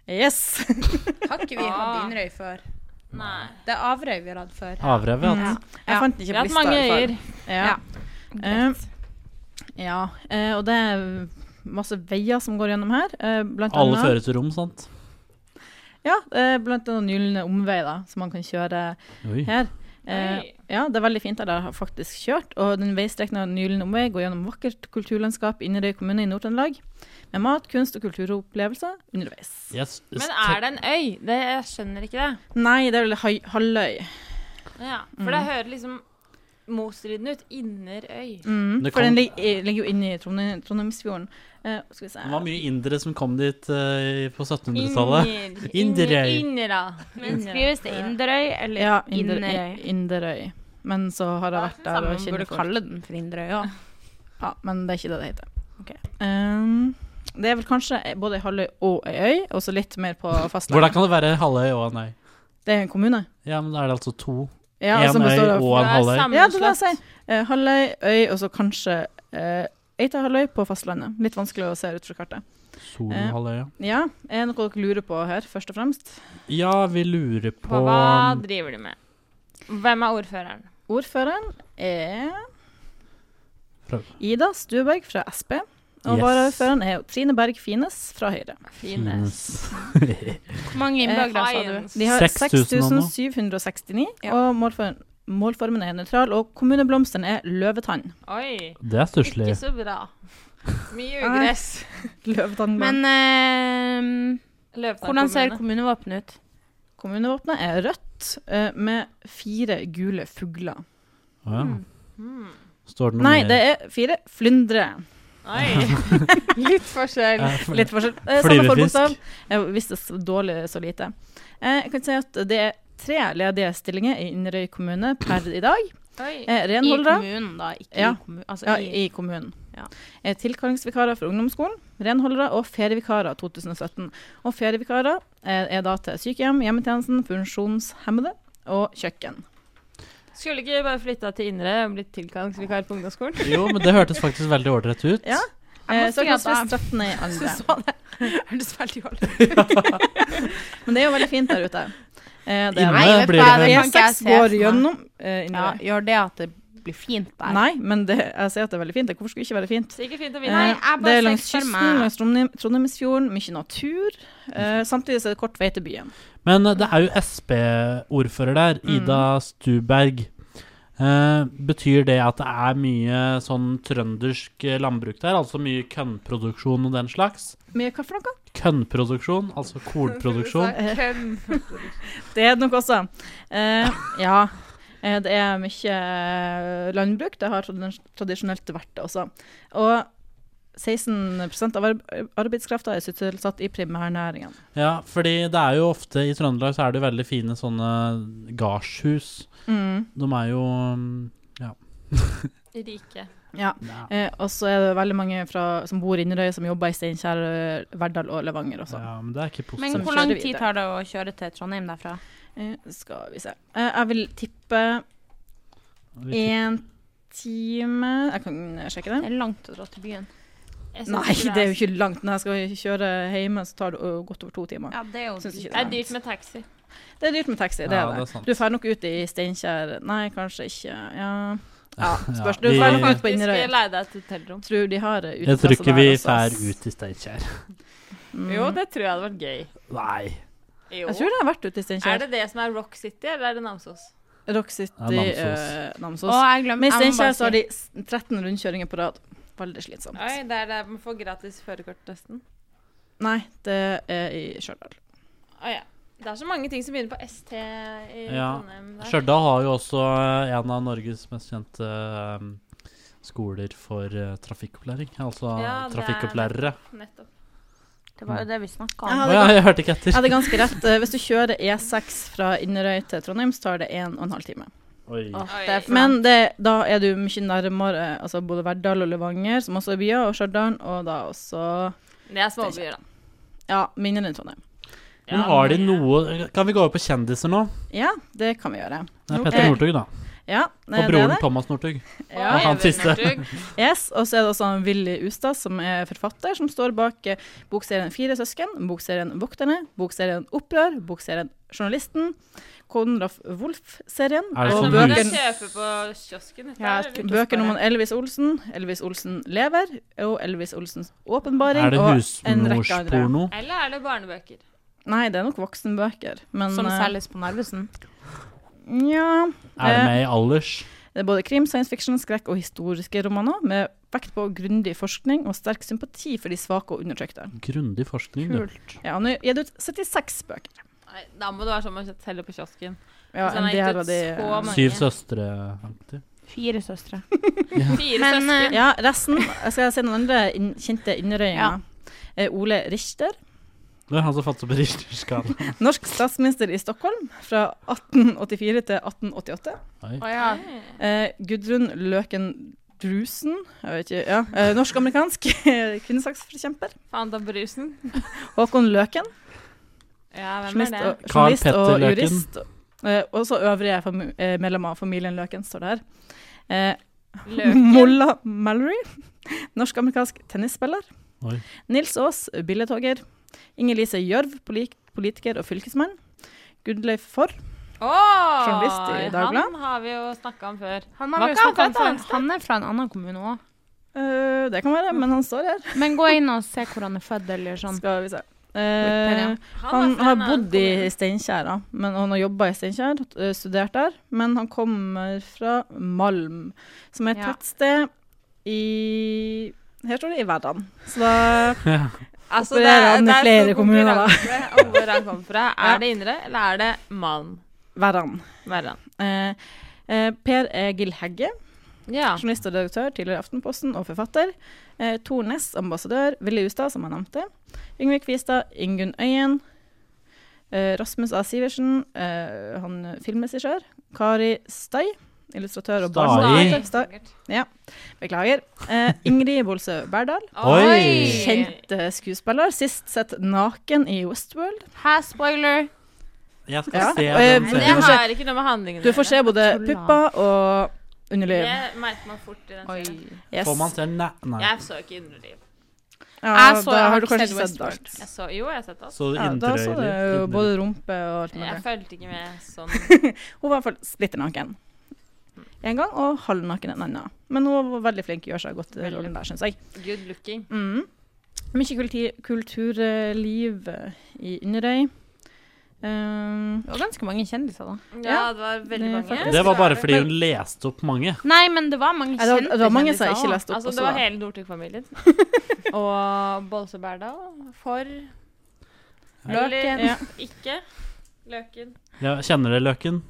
Yes!
Har ikke vi hatt Inderøy før?
Nei.
Det er Averøy vi har hatt før.
Averøy, vet du.
Jeg fant den ikke
Vi
på
har hatt
lista.
mange
i hvert fall.
øyer.
Ja. Eh, Ja, eh, og det er masse veier som går gjennom her. eh, Blant
Alle
annet,
fører til rom, sant?
Ja, eh, blant annet Gylne omvei, da, som man kan kjøre
Oi.
her. Eh,
Oi.
ja, det er veldig fint der jeg har faktisk kjørt. Og den veistrekningen Gyllen omvei går gjennom vakkert kulturlandskap i Inderøy kommune i Nord-Trøndelag. Med mat, kunst og kulturopplevelser underveis.
Yes.
Men er det en øy? Det, jeg skjønner ikke det.
Nei, det er vel Hai- Halløy.
Ja, for det hører liksom motstridende ut. Innerøy.
Mm,
Det
for den
kan-
lig i- ligger jo inne i Trondheim, Trondheimsfjorden. Eh, skal vi se
Det var mye indere som kom dit eh, på 1700-tallet.
Inger.
Inderøy.
Innera.
Men skrives det Inderøy eller
Ja, Inder
Inderøy?
Inderøy. Men så har jeg
Jeg
vært der og
man
kjenner
burde
folk.
kalle den for Inderøy òg.
Ja, men det er ikke det det heter.
Ok.
Ehm, det er vel kanskje både ei halvøy og ei øy, og så litt mer på
Hvordan
fastlandet.
kan det være halvøy og en øy?
Det er en kommune.
Ja, men da er det altså to.
Ja,
en
som består
øy
av-
og en halvøy.
Ja, det er det jeg sier. Eh, halvøy, øy, og så kanskje uh, Eitahalvøy på fastlandet. Litt vanskelig å se ut fra kartet.
Solohalvøya.
Ja, er det noe dere lurer på her, først og fremst?
Ja, vi lurer på
Hva, hva driver de med? Hvem er ordføreren?
Ordføreren er
Prøv.
Ida Stueberg fra Sp. Og
Yes.
varaordføreren er jo Trine Berg Fines fra Høyre.
Fines.
Hvor
Eh,
mange innbyggere sa du?
De har
6000 og noe.
6769, og målformen, målformen er nøytral. Og kommuneblomsten er løvetann.
Oi,
Det er stusslig.
ikke så bra. Mye ugress.
Løvetann
Men eh,
Løvtann
hvordan ser
kommune.
kommunevåpenet ut?
Kommunevåpenet er rødt eh, med fire gule fugler.
Å ja. Står det
Hmm.
noe
Nei,
mer?
det er fire flyndre.
Oi. Litt forskjell.
Eh, for-
Litt forskjell. Eh, samme
Flyvefisk.
forbokstav. Jeg visste så dårlig så lite. Eh, jeg kan si at det er tre ledige stillinger i Inderøy kommune per i dag.
Oi.
Eh,
I
renholdere
kommunen, da. Ikke
Ja.
i kommunen. Altså,
ja,
i,
i kommunen.
Ja.
Eh, Tilkallingsvikarer for ungdomsskolen, renholdere og ferievikarer 2017. Og ferievikarer eh, er da til sykehjem, hjemmetjenesten, funksjonshemmede og kjøkken.
Skulle ikke bare flytta til Indre og blitt tilkallingsvikar på ungdomsskolen?
Jo, men det hørtes faktisk veldig ålreit ut.
Ja.
Jeg må
Eh,
si at jeg-
Søknadsfrist 17. i andre.
så det hørtes veldig dårlig ut.
Men det er jo veldig fint der ute. Eh, det
Inne
er
Nei, vet du
blir det
hva, det
vel
kan ikke jeg
E6
se for
går
meg.
gjennom eh,
Ja,
Inderøy.
gjør det at det blir fint der?
Nei, men det, jeg sier at det er veldig fint. Hvorfor skulle det ikke være fint?
Sikkert fint å
Eh,
vinne.
Nei, jeg bare
det er langs
ser for
kysten,
meg-
langs Trondheim- Trondheimsfjorden, mye natur. Eh, samtidig så er det kort vei til byen.
Men eh, det er jo Sp-ordfører der, Ida Stuberg. Eh, betyr det at det er mye sånn trøndersk eh, landbruk der? Altså mye kønnproduksjon og den slags?
Mye hva for noe?
Kønnproduksjon, altså kornproduksjon.
Det er det nok også. Eh, ja. Eh, Det er mye eh, landbruk. Det har tradis- tradisjonelt vært det også. Og 16 av arbe- arbeidskrafta er sysselsatt i primærnæringene.
Ja, fordi det er jo ofte i Trøndelag så er det jo veldig fine sånne gardshus. De er jo mm,
Rike.
Ja.
ja,
Eh, og så er det veldig mange fra, som bor i Inderøy, som jobber i Steinkjer, Verdal og Levanger også.
ja, men det er ikke
Men
Som
positivt.
hvor lang
kjører
tid
videre.
tar det å kjøre til Trondheim derfra?
Eh, skal vi se eh, Jeg vil tippe én time Jeg kan sjekke
Det
det.
er langt å dra til byen.
Jeg synes
Nei,
ikke
det er jo ikke langt. Når jeg skal kjøre hjemme, så tar det eh, godt over to timer.
Ja, det er jo
Synes ikke
Det er dyrt med taxi.
Det er dyrt med taxi, det
Ja,
er
det er
det.
sant.
du drar nok ut i Steinkjer Nei, kanskje ikke. Ja, ja spørs. Du
vi-
drar nok ut på
Vi skal
Inderøy.
leie deg et hotellrom.
Tror de har eh,
Jeg tror
uteplasser
ikke
der
vi
også.
fær ut i Steinkjer.
Jo, det tror jeg hadde vært gøy.
Nei.
Jo.
Mm. Jeg tror det har vært ute i
Er
Steinkjer.
det det som er Rock City, eller er det Namsos?
Rock City,
Ja, Namsos.
eh, Namsos.
Å, jeg glemmer
Men i
jeg må
Steinkjer
bare si-
så har de s- 13 rundkjøringer på rad. Veldig slitsomt.
Oi, det er der man får gratis førerkort, nesten.
Nei, det er i Stjørdal.
Å ja. Det er så mange ting som begynner på ST i
Ja.
Trondheim. der.
Stjørdal har jo også eh, en av Norges mest kjente eh, skoler for eh, trafikkopplæring. Altså
Ja, det er-
trafikkopplærere.
Nettopp.
Det var jo det vi snakka
Jeg
om.
Å
hadde,
ja,
gans-
jeg hørte ikke
jeg
etter.
hadde ganske rett. Eh, Hvis du kjører E6 fra Inderøy til Trondheim, så tar det 1 12 time.
Oi.
Oi.
det er for-
Men det, da er du mye nærmere altså både Verdal og Levanger, som også er byer, og Stjørdal, og da også
Det er småbyer, da.
Ja, mindre enn Trondheim.
Men har de noe Kan vi gå over på kjendiser nå?
Ja, det kan vi gjøre.
Det er
Ok.
Petter Northug, da.
Ja,
Og broren Thomas Northug.
Ja.
Han siste.
Yes, og så er det også han Willy Ustad, som er forfatter, som står bak eh, bokserien Fire søsken, bokserien Vokterne, bokserien Opprør, bokserien Journalisten, Konrad Wolff-serien
Er det
og
sånn
bøkene-
hus-
kjøpe på kiosken. dette
ja,
her, eller?
bøkene om Elvis Olsen, Elvis Olsen lever, og Elvis Olsens åpenbaring.
Er det
og en rekke andre.
husmorsporno?
Eller er det barnebøker?
Nei, det er nok voksenbøker. Men,
Som
eh,
selges på Narvesen.
Nja.
Er det
Eh,
med i alders?
Det er både krim, science fiction, skrekk og historiske romaner, med vekt på grundig forskning og sterk sympati for de svake og undertrykte.
Grundig forskning, du.
Ja, nå er det gitt ut 76 bøker.
Nei, da må det være sånn man teller på kiosken.
Ja,
Altså,
en
han har gitt
del
ut
av de eh,
så mange.
Syv søstre-aktig.
Fire søstre.
Fire
Men,
søsken.
Ja, resten jeg skal si noen andre inn, kjente innrøyinger. Eh, Ole Richter,
Det er han som fattet på Richterskala.
norsk statsminister i Stockholm fra 1884 til 1888.
Å ja.
Eh, Gudrun Løken Drusen, jeg vet ikke, ja, eh, norsk-amerikansk kvinnesaksforkjemper.
Faen ta brusen.
Håkon Løken,
Ja, hvem er
journalist
det?
og,
Carl
journalist
Petter
og
Løken.
jurist. Eh, også øvrige fami- eh, medlemmer av familien Løken står der. Eh,
Løken.
Molla Mallory, norsk-amerikansk tennisspiller.
Oi.
Nils Aas, billedhogger. Inger-Lise Gjørv, poli- politiker og fylkesmann. Gudleif Forr.
Åh,
Journalist i Dagbladet.
Han har vi jo snakka om før.
Han,
Var
har vi jo
ikke han
snakket om
fra et
før.
annet
han er fra en annen kommune òg.
Eh, det kan være, men han står her.
Men gå inn og se hvor han er født, eller sånn.
Skal vi se.
ja.
Eh, han
er fra
har
en annen
bodd i
kommune.
Steinkjer, da. Men han har jobba i Steinkjer, eh, studert der. Men han kommer fra Malm, som er et
Ja.
tettsted i Her står det i Verdal. Så da
Altså,
opererer han i flere kommuner, da.
konkurranse om hvor han kommer fra. Er det Indre, eller er det Malm?
Verran.
Verran.
Eh, eh, per Egil Hegge.
Ja.
Journalist og redaktør, tidligere i Aftenposten og forfatter. Eh, Tor Næss, ambassadør. Willy Ustad, som jeg nevnte. Yngve Kvistad. Ingunn Øyen. Eh, Rasmus A. Sivertsen, eh, han er filmregissør. Kari Stai, illustratør og
Stai.
barneforfatter. Stai. Ja, beklager. Eh, Ingrid Bolsø Berdal,
Oi!
kjent eh, skuespiller. Sist sett naken i Westworld.
Hæ, spoiler?
Jeg skal
Ja.
se
Eh,
den
men
Det
serien.
Du får se-
har ikke noe med handlingen
Du får se både
Tulla.
pupper og underliv.
Det merker man fort i den serien.
Yes.
Får man se Nei. nei.
Jeg så ikke Indre Liv.
Ja,
Jeg
da
så- jeg har
har du
ikke
kanskje
sett
sett
Westworld.
alt.
Jeg så, jo, jeg har sett det. altså.
Så
Ja, da så du jo
interiører.
både rumpe og alt mulig.
Jeg fulgte ikke med sånn.
Hun var i hvert fall splitter naken en gang, og halvnaken en annen. Men hun var veldig flink, gjør seg godt i
Veldig.
rollen der, syns jeg.
Good looking.
Mm. Mye kulti kulturliv eh, i Inderøy. Um,
Det var ganske mange kjendiser, da.
Ja, det var veldig
Det er
mange.
faktisk-
Det var bare fordi hun leste opp mange.
Nei, men det var mange
ja, det, var,
kjente
det var mange som
kjendiser
jeg ikke
også.
leste opp
Altså, det
også.
var
da.
hele Northug-familien. Og Bolse Berdal for Løken.
Ja.
Ikke Løken.
Ja, kjenner dere løken?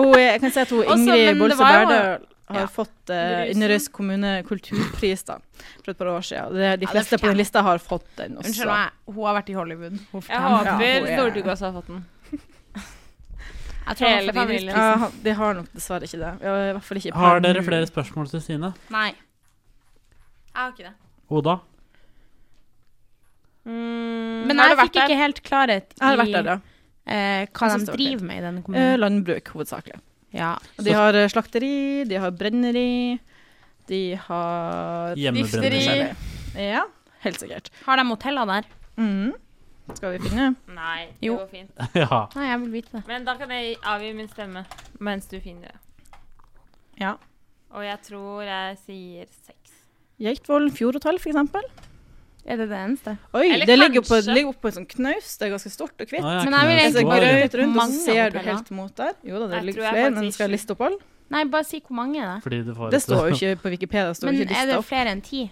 Og jeg kan si at hun,
Også, men
Ingrid
det
Bolse
var jo-
Berdal har
Ja.
fått uh,
Grusen.
Inderøys kommune kulturpris da, for et par år siden. Det, de
det
fleste på
fortjener-
den lista har fått den også.
Unnskyld meg, hun har vært i Hollywood. Hun
Jeg
fortjener-
Ja,
håper
hun er-
Northug også har fått den.
Jeg tror
Hele
hele
familien.
familien.
Ja, han- de har nok dessverre ikke det. Ja, I hvert fall ikke per
Har dere
nå.
flere spørsmål til Stine?
Nei. Mm. Jeg har ikke det.
Oda?
Mm.
Men
har
jeg
du vært
fikk ikke helt klarhet
Jeg har vært der,
i Mm.
da.
eh, hva
Jeg synes
de
det var fint.
driver med i denne
Eh,
kommunen.
landbruk, hovedsakelig.
Ja.
Og de har eh, slakteri, de har brenneri, de har
Hjemmebrenner.
Forskjellig. Ja, helt sikkert.
Har de hoteller der?
Mhm. Skal vi finne
Nei, det
Jo.
går fint.
Ja.
Nei, jeg vil vite det.
Men da kan jeg avgi min stemme mens du finner det.
Ja.
Og jeg tror jeg sier seks.
Geitvoll fjordhotell, for eksempel.
Er det det eneste?
Oi,
Eller
det ligger oppå
kanskje-
ligger oppå en sånn knaus. Det er ganske stort og hvitt.
Ah, ja,
Men jeg
Det er
knaus
vil
så
egentlig
var det.
bare-
grøt rundt, og så
Mange
ser du
hoteller.
helt mot der. Jo da, det
Jeg tror
ligger
jeg
flere,
faktisk
men skal jeg liste opp alle?
Nei, bare si hvor mange det er.
Fordi du får
Det
et-
står jo ikke på Wikipedia. Det står
Men
ikke
er
lista
det
opp.
flere enn ti?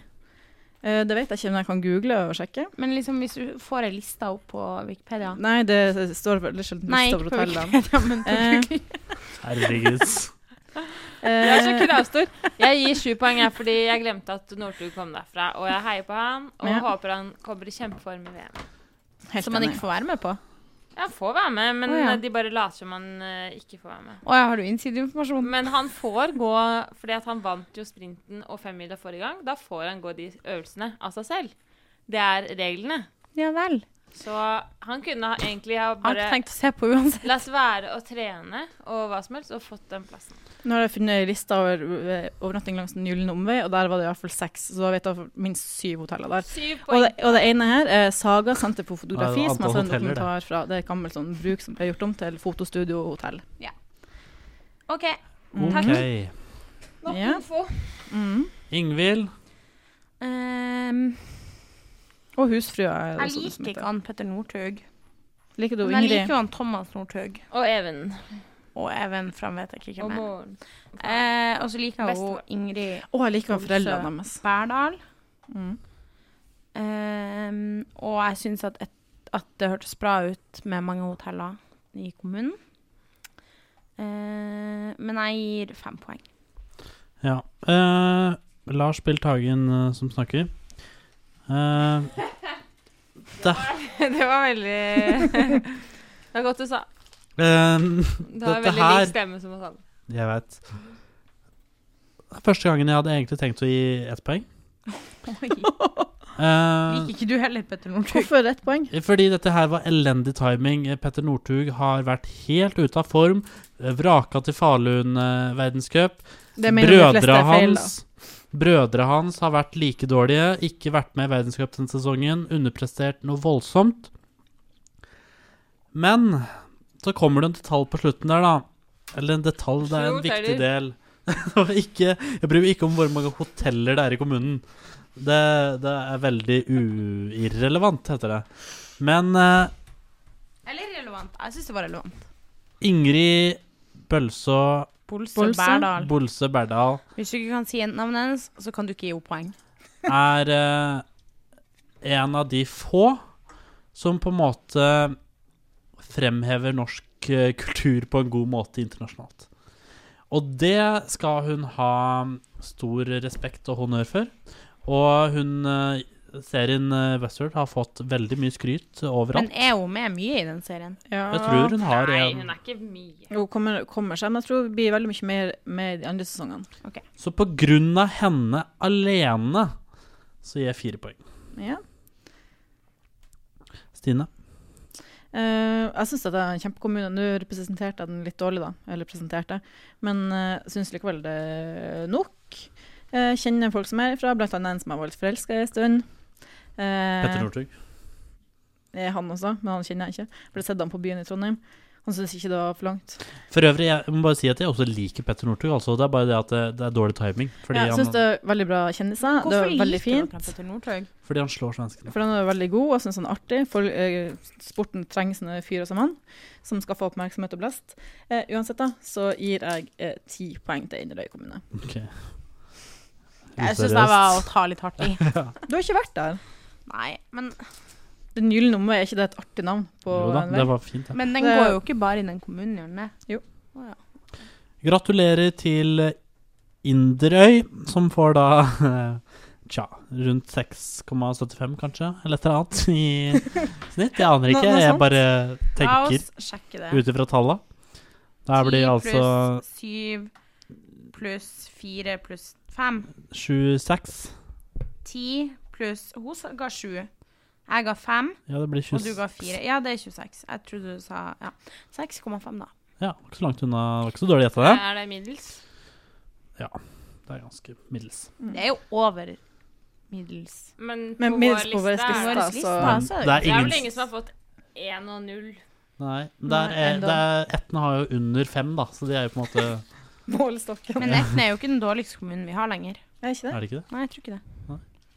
Eh, Det vet jeg ikke om jeg kan google og sjekke.
Men liksom, hvis du får ei liste opp på Wikipedia
Nei, det står veldig sjelden
Nei,
lista
ikke
over
på
hotellene.
Wikipedia, men på
Eh,
Google.
Herregud.
Jeg er så kravstor. Jeg gir sju poeng jeg, fordi jeg glemte at Northug kom derfra. Og jeg heier på han, og
Ja.
håper han kommer i kjempeform i VM.
Helt
Som man
enig.
ikke får være med på.
Han får være med, men
Å, ja.
eh, de bare later som han eh, ikke får være med.
Å ja, har du innsideinformasjon?
Men han får gå, fordi at han vant jo sprinten og femmila forrige gang, da får han gå de øvelsene av seg selv. Det er reglene.
Ja vel.
Så han kunne ha egentlig ha
Har ikke
bare
tenkt å se på uansett.
La oss være å trene og hva som helst, og fått den plassen.
Nå har jeg funnet ei liste over eh, overnatting langs Den gylne omvei, og der var det i hvert fall seks. Så da vet jeg minst syv hoteller der.
Syv
Og det,
poeng.
og det ene her er Saga senter på fotografi,
Ja, det
som
var
er en
antall hoteller, det.
dokumentar fra det er et gammelt sånn bruk som ble gjort om til fotostudio og hotell.
OK.
Mm,
Ok.
Nok
Ja. Mm.
info.
Ingvild.
Ehm,
Og Husfrua er det
jeg
også noe som
liker
heter.
ikke han Petter Northug.
Liker du
Men jeg
Ingrid?
liker jo han Thomas Northug
Og Even.
og Even Fram, vet jeg ikke
Og
hvem er.
Moren.
Eh, og så liker jeg jo
Bestevenn.
Ingrid
Å, jeg liker
Olsø.
foreldrene deres.
Bærdal.
Mm.
Ehm, og jeg syns at, et, at det hørtes bra ut med mange hoteller i kommunen. Eh, men jeg gir fem poeng.
Ja. Eh, Lars Bilt Hagen eh, som snakker. Eh,
Det var veldig Det var godt du sa.
eh,
Du har
Dette
veldig
her-
lik stemme som oss alle.
jeg vet. Det er Første gangen jeg hadde egentlig tenkt å gi ett poeng. Eh,
Liker ikke du heller Petter Northug?
Hvorfor ett poeng?
Eh, fordi dette her var elendig timing. Eh, Petter Northug har vært helt ute av form. Eh, Vraka til eh, Falun-verdenscup.
Det mener de fleste
Brødre
er feil, da.
hans Brødre hans har vært like dårlige, ikke vært med i verdenscup denne sesongen, underprestert noe voldsomt. Men så kommer det en detalj på slutten der, da. Eller en detalj, det er en
Sju
viktig
hoteller.
del. Det var ikke, jeg bryr meg ikke om hvor mange hoteller det er i kommunen. Det, det er veldig uirrelevant, heter det. Men eh,
Eller relevant? Jeg syns det var relevant.
Ingrid Bølså
Bolse,
Bolse.
Bærdal.
Bolse Berdal
Hvis du ikke kan si navnet hennes, så kan du ikke gi henne poeng.
er eh, en av de få som på en måte fremhever norsk eh, kultur på en god måte internasjonalt. Og det skal hun ha stor respekt og honnør for. Og hun eh, serien eh, Westworld har fått veldig mye skryt
Men
overalt.
er hun med mye i den serien?
Ja.
Jeg tror hun har
Nei,
en
hun er ikke mye.
Hun kommer, kommer seg, men jeg tror det blir veldig mye mer med i de andre sesongene.
Så på grunn av henne alene så gir jeg fire poeng.
Ja.
Stine?
Eh, jeg syns det er en kjempekommune. Nå representerte jeg den litt dårlig, da. Eller presenterte. Men jeg syns likevel det er nok. Eh, kjenner folk som er herfra, blant annet en som jeg var litt forelska i en stund. Eh,
Petter Northug?
er han også, men han kjenner jeg ikke. Ble sett han på byen i Trondheim. Han syntes ikke det var for langt.
For øvrig, jeg må bare si at jeg også liker Petter Northug. Altså, det er bare det at det, det er dårlig timing. Fordi,
Ja, jeg syns det
han,
er veldig bra kjendiser. Det
Hvorfor
er veldig
liker
fint.
dere Petter Northug?
fordi han slår svenskene.
For han er veldig god, og jeg syns han er artig. For, eh, sporten trenger sånne fyrer som han, som skal få oppmerksomhet og blest. Eh, uansett, da, så gir jeg eh, ti poeng til Inderøy kommune.
Ok.
Jeg syns det var å ta litt hardt i.
Du har ikke vært der.
Nei, men,
Den gylne omvei, er ikke det et artig navn? på
Jo da,
en vei?
det var fint. Ja.
men den
Det-
går jo ikke bare i den kommunen, gjør den det?
Gratulerer til Inderøy, som får da Tja, rundt 6,75 kanskje, eller et eller annet i snitt. Jeg aner
Nå-
ikke,
noe
jeg
sånt.
bare
La
tenker
oss sjekke det.
ut ifra talla. Der blir det altså
pluss syv pluss fire pluss fem.
26.
Ti pluss Hun sa- ga sju. Jeg ga fem,
Ja, det blir
og du ga
26.
fire. Ja, det er 26. Jeg trodde du sa ja. 6,5, da.
Ja, ikke så langt unna. Det var ikke så dårlig gjetta, det.
Er det middels?
Det er ganske middels.
Det er jo over middels.
Men på
Men
vår
middels på vår
liste er altså- det
liste,
liste, altså.
så
Ja,
Men
så er det
det
Det
er
er
ingen
vel ingen som har fått én og null.
Nei, men det er,
Nei,
det er, Etten har jo under fem, da, så de er jo på en måte
målestokken.
Men Etne er jo ikke den dårligste kommunen vi har lenger.
Er ikke det?
Er det ikke det?
Nei, jeg tror ikke det.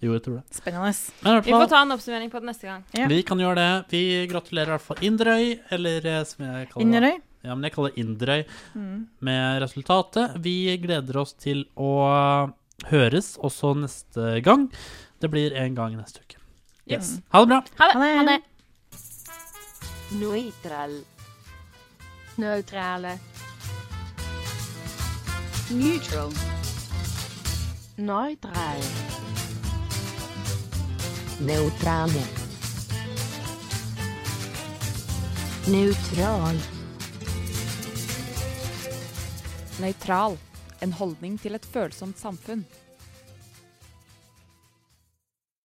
Jo, jeg tror det.
Spennende.
Men i hvert
Vi får
fall,
ta en oppsummering på det neste gang.
Ja.
vi kan gjøre det. Vi gratulerer i hvert fall Inderøy, eller eh, som jeg kaller det.
Inderøy.
Ja, men jeg kaller det Inderøy
Mm.
med resultatet. Vi gleder oss til å høres også neste gang. Det blir en gang neste uke. Yes. Ha det bra.
Ha det.
Neutral. Neutrale. Neutral. Neutral.
Neutrale. Neutral.
Nøytral. En holdning til et følsomt samfunn.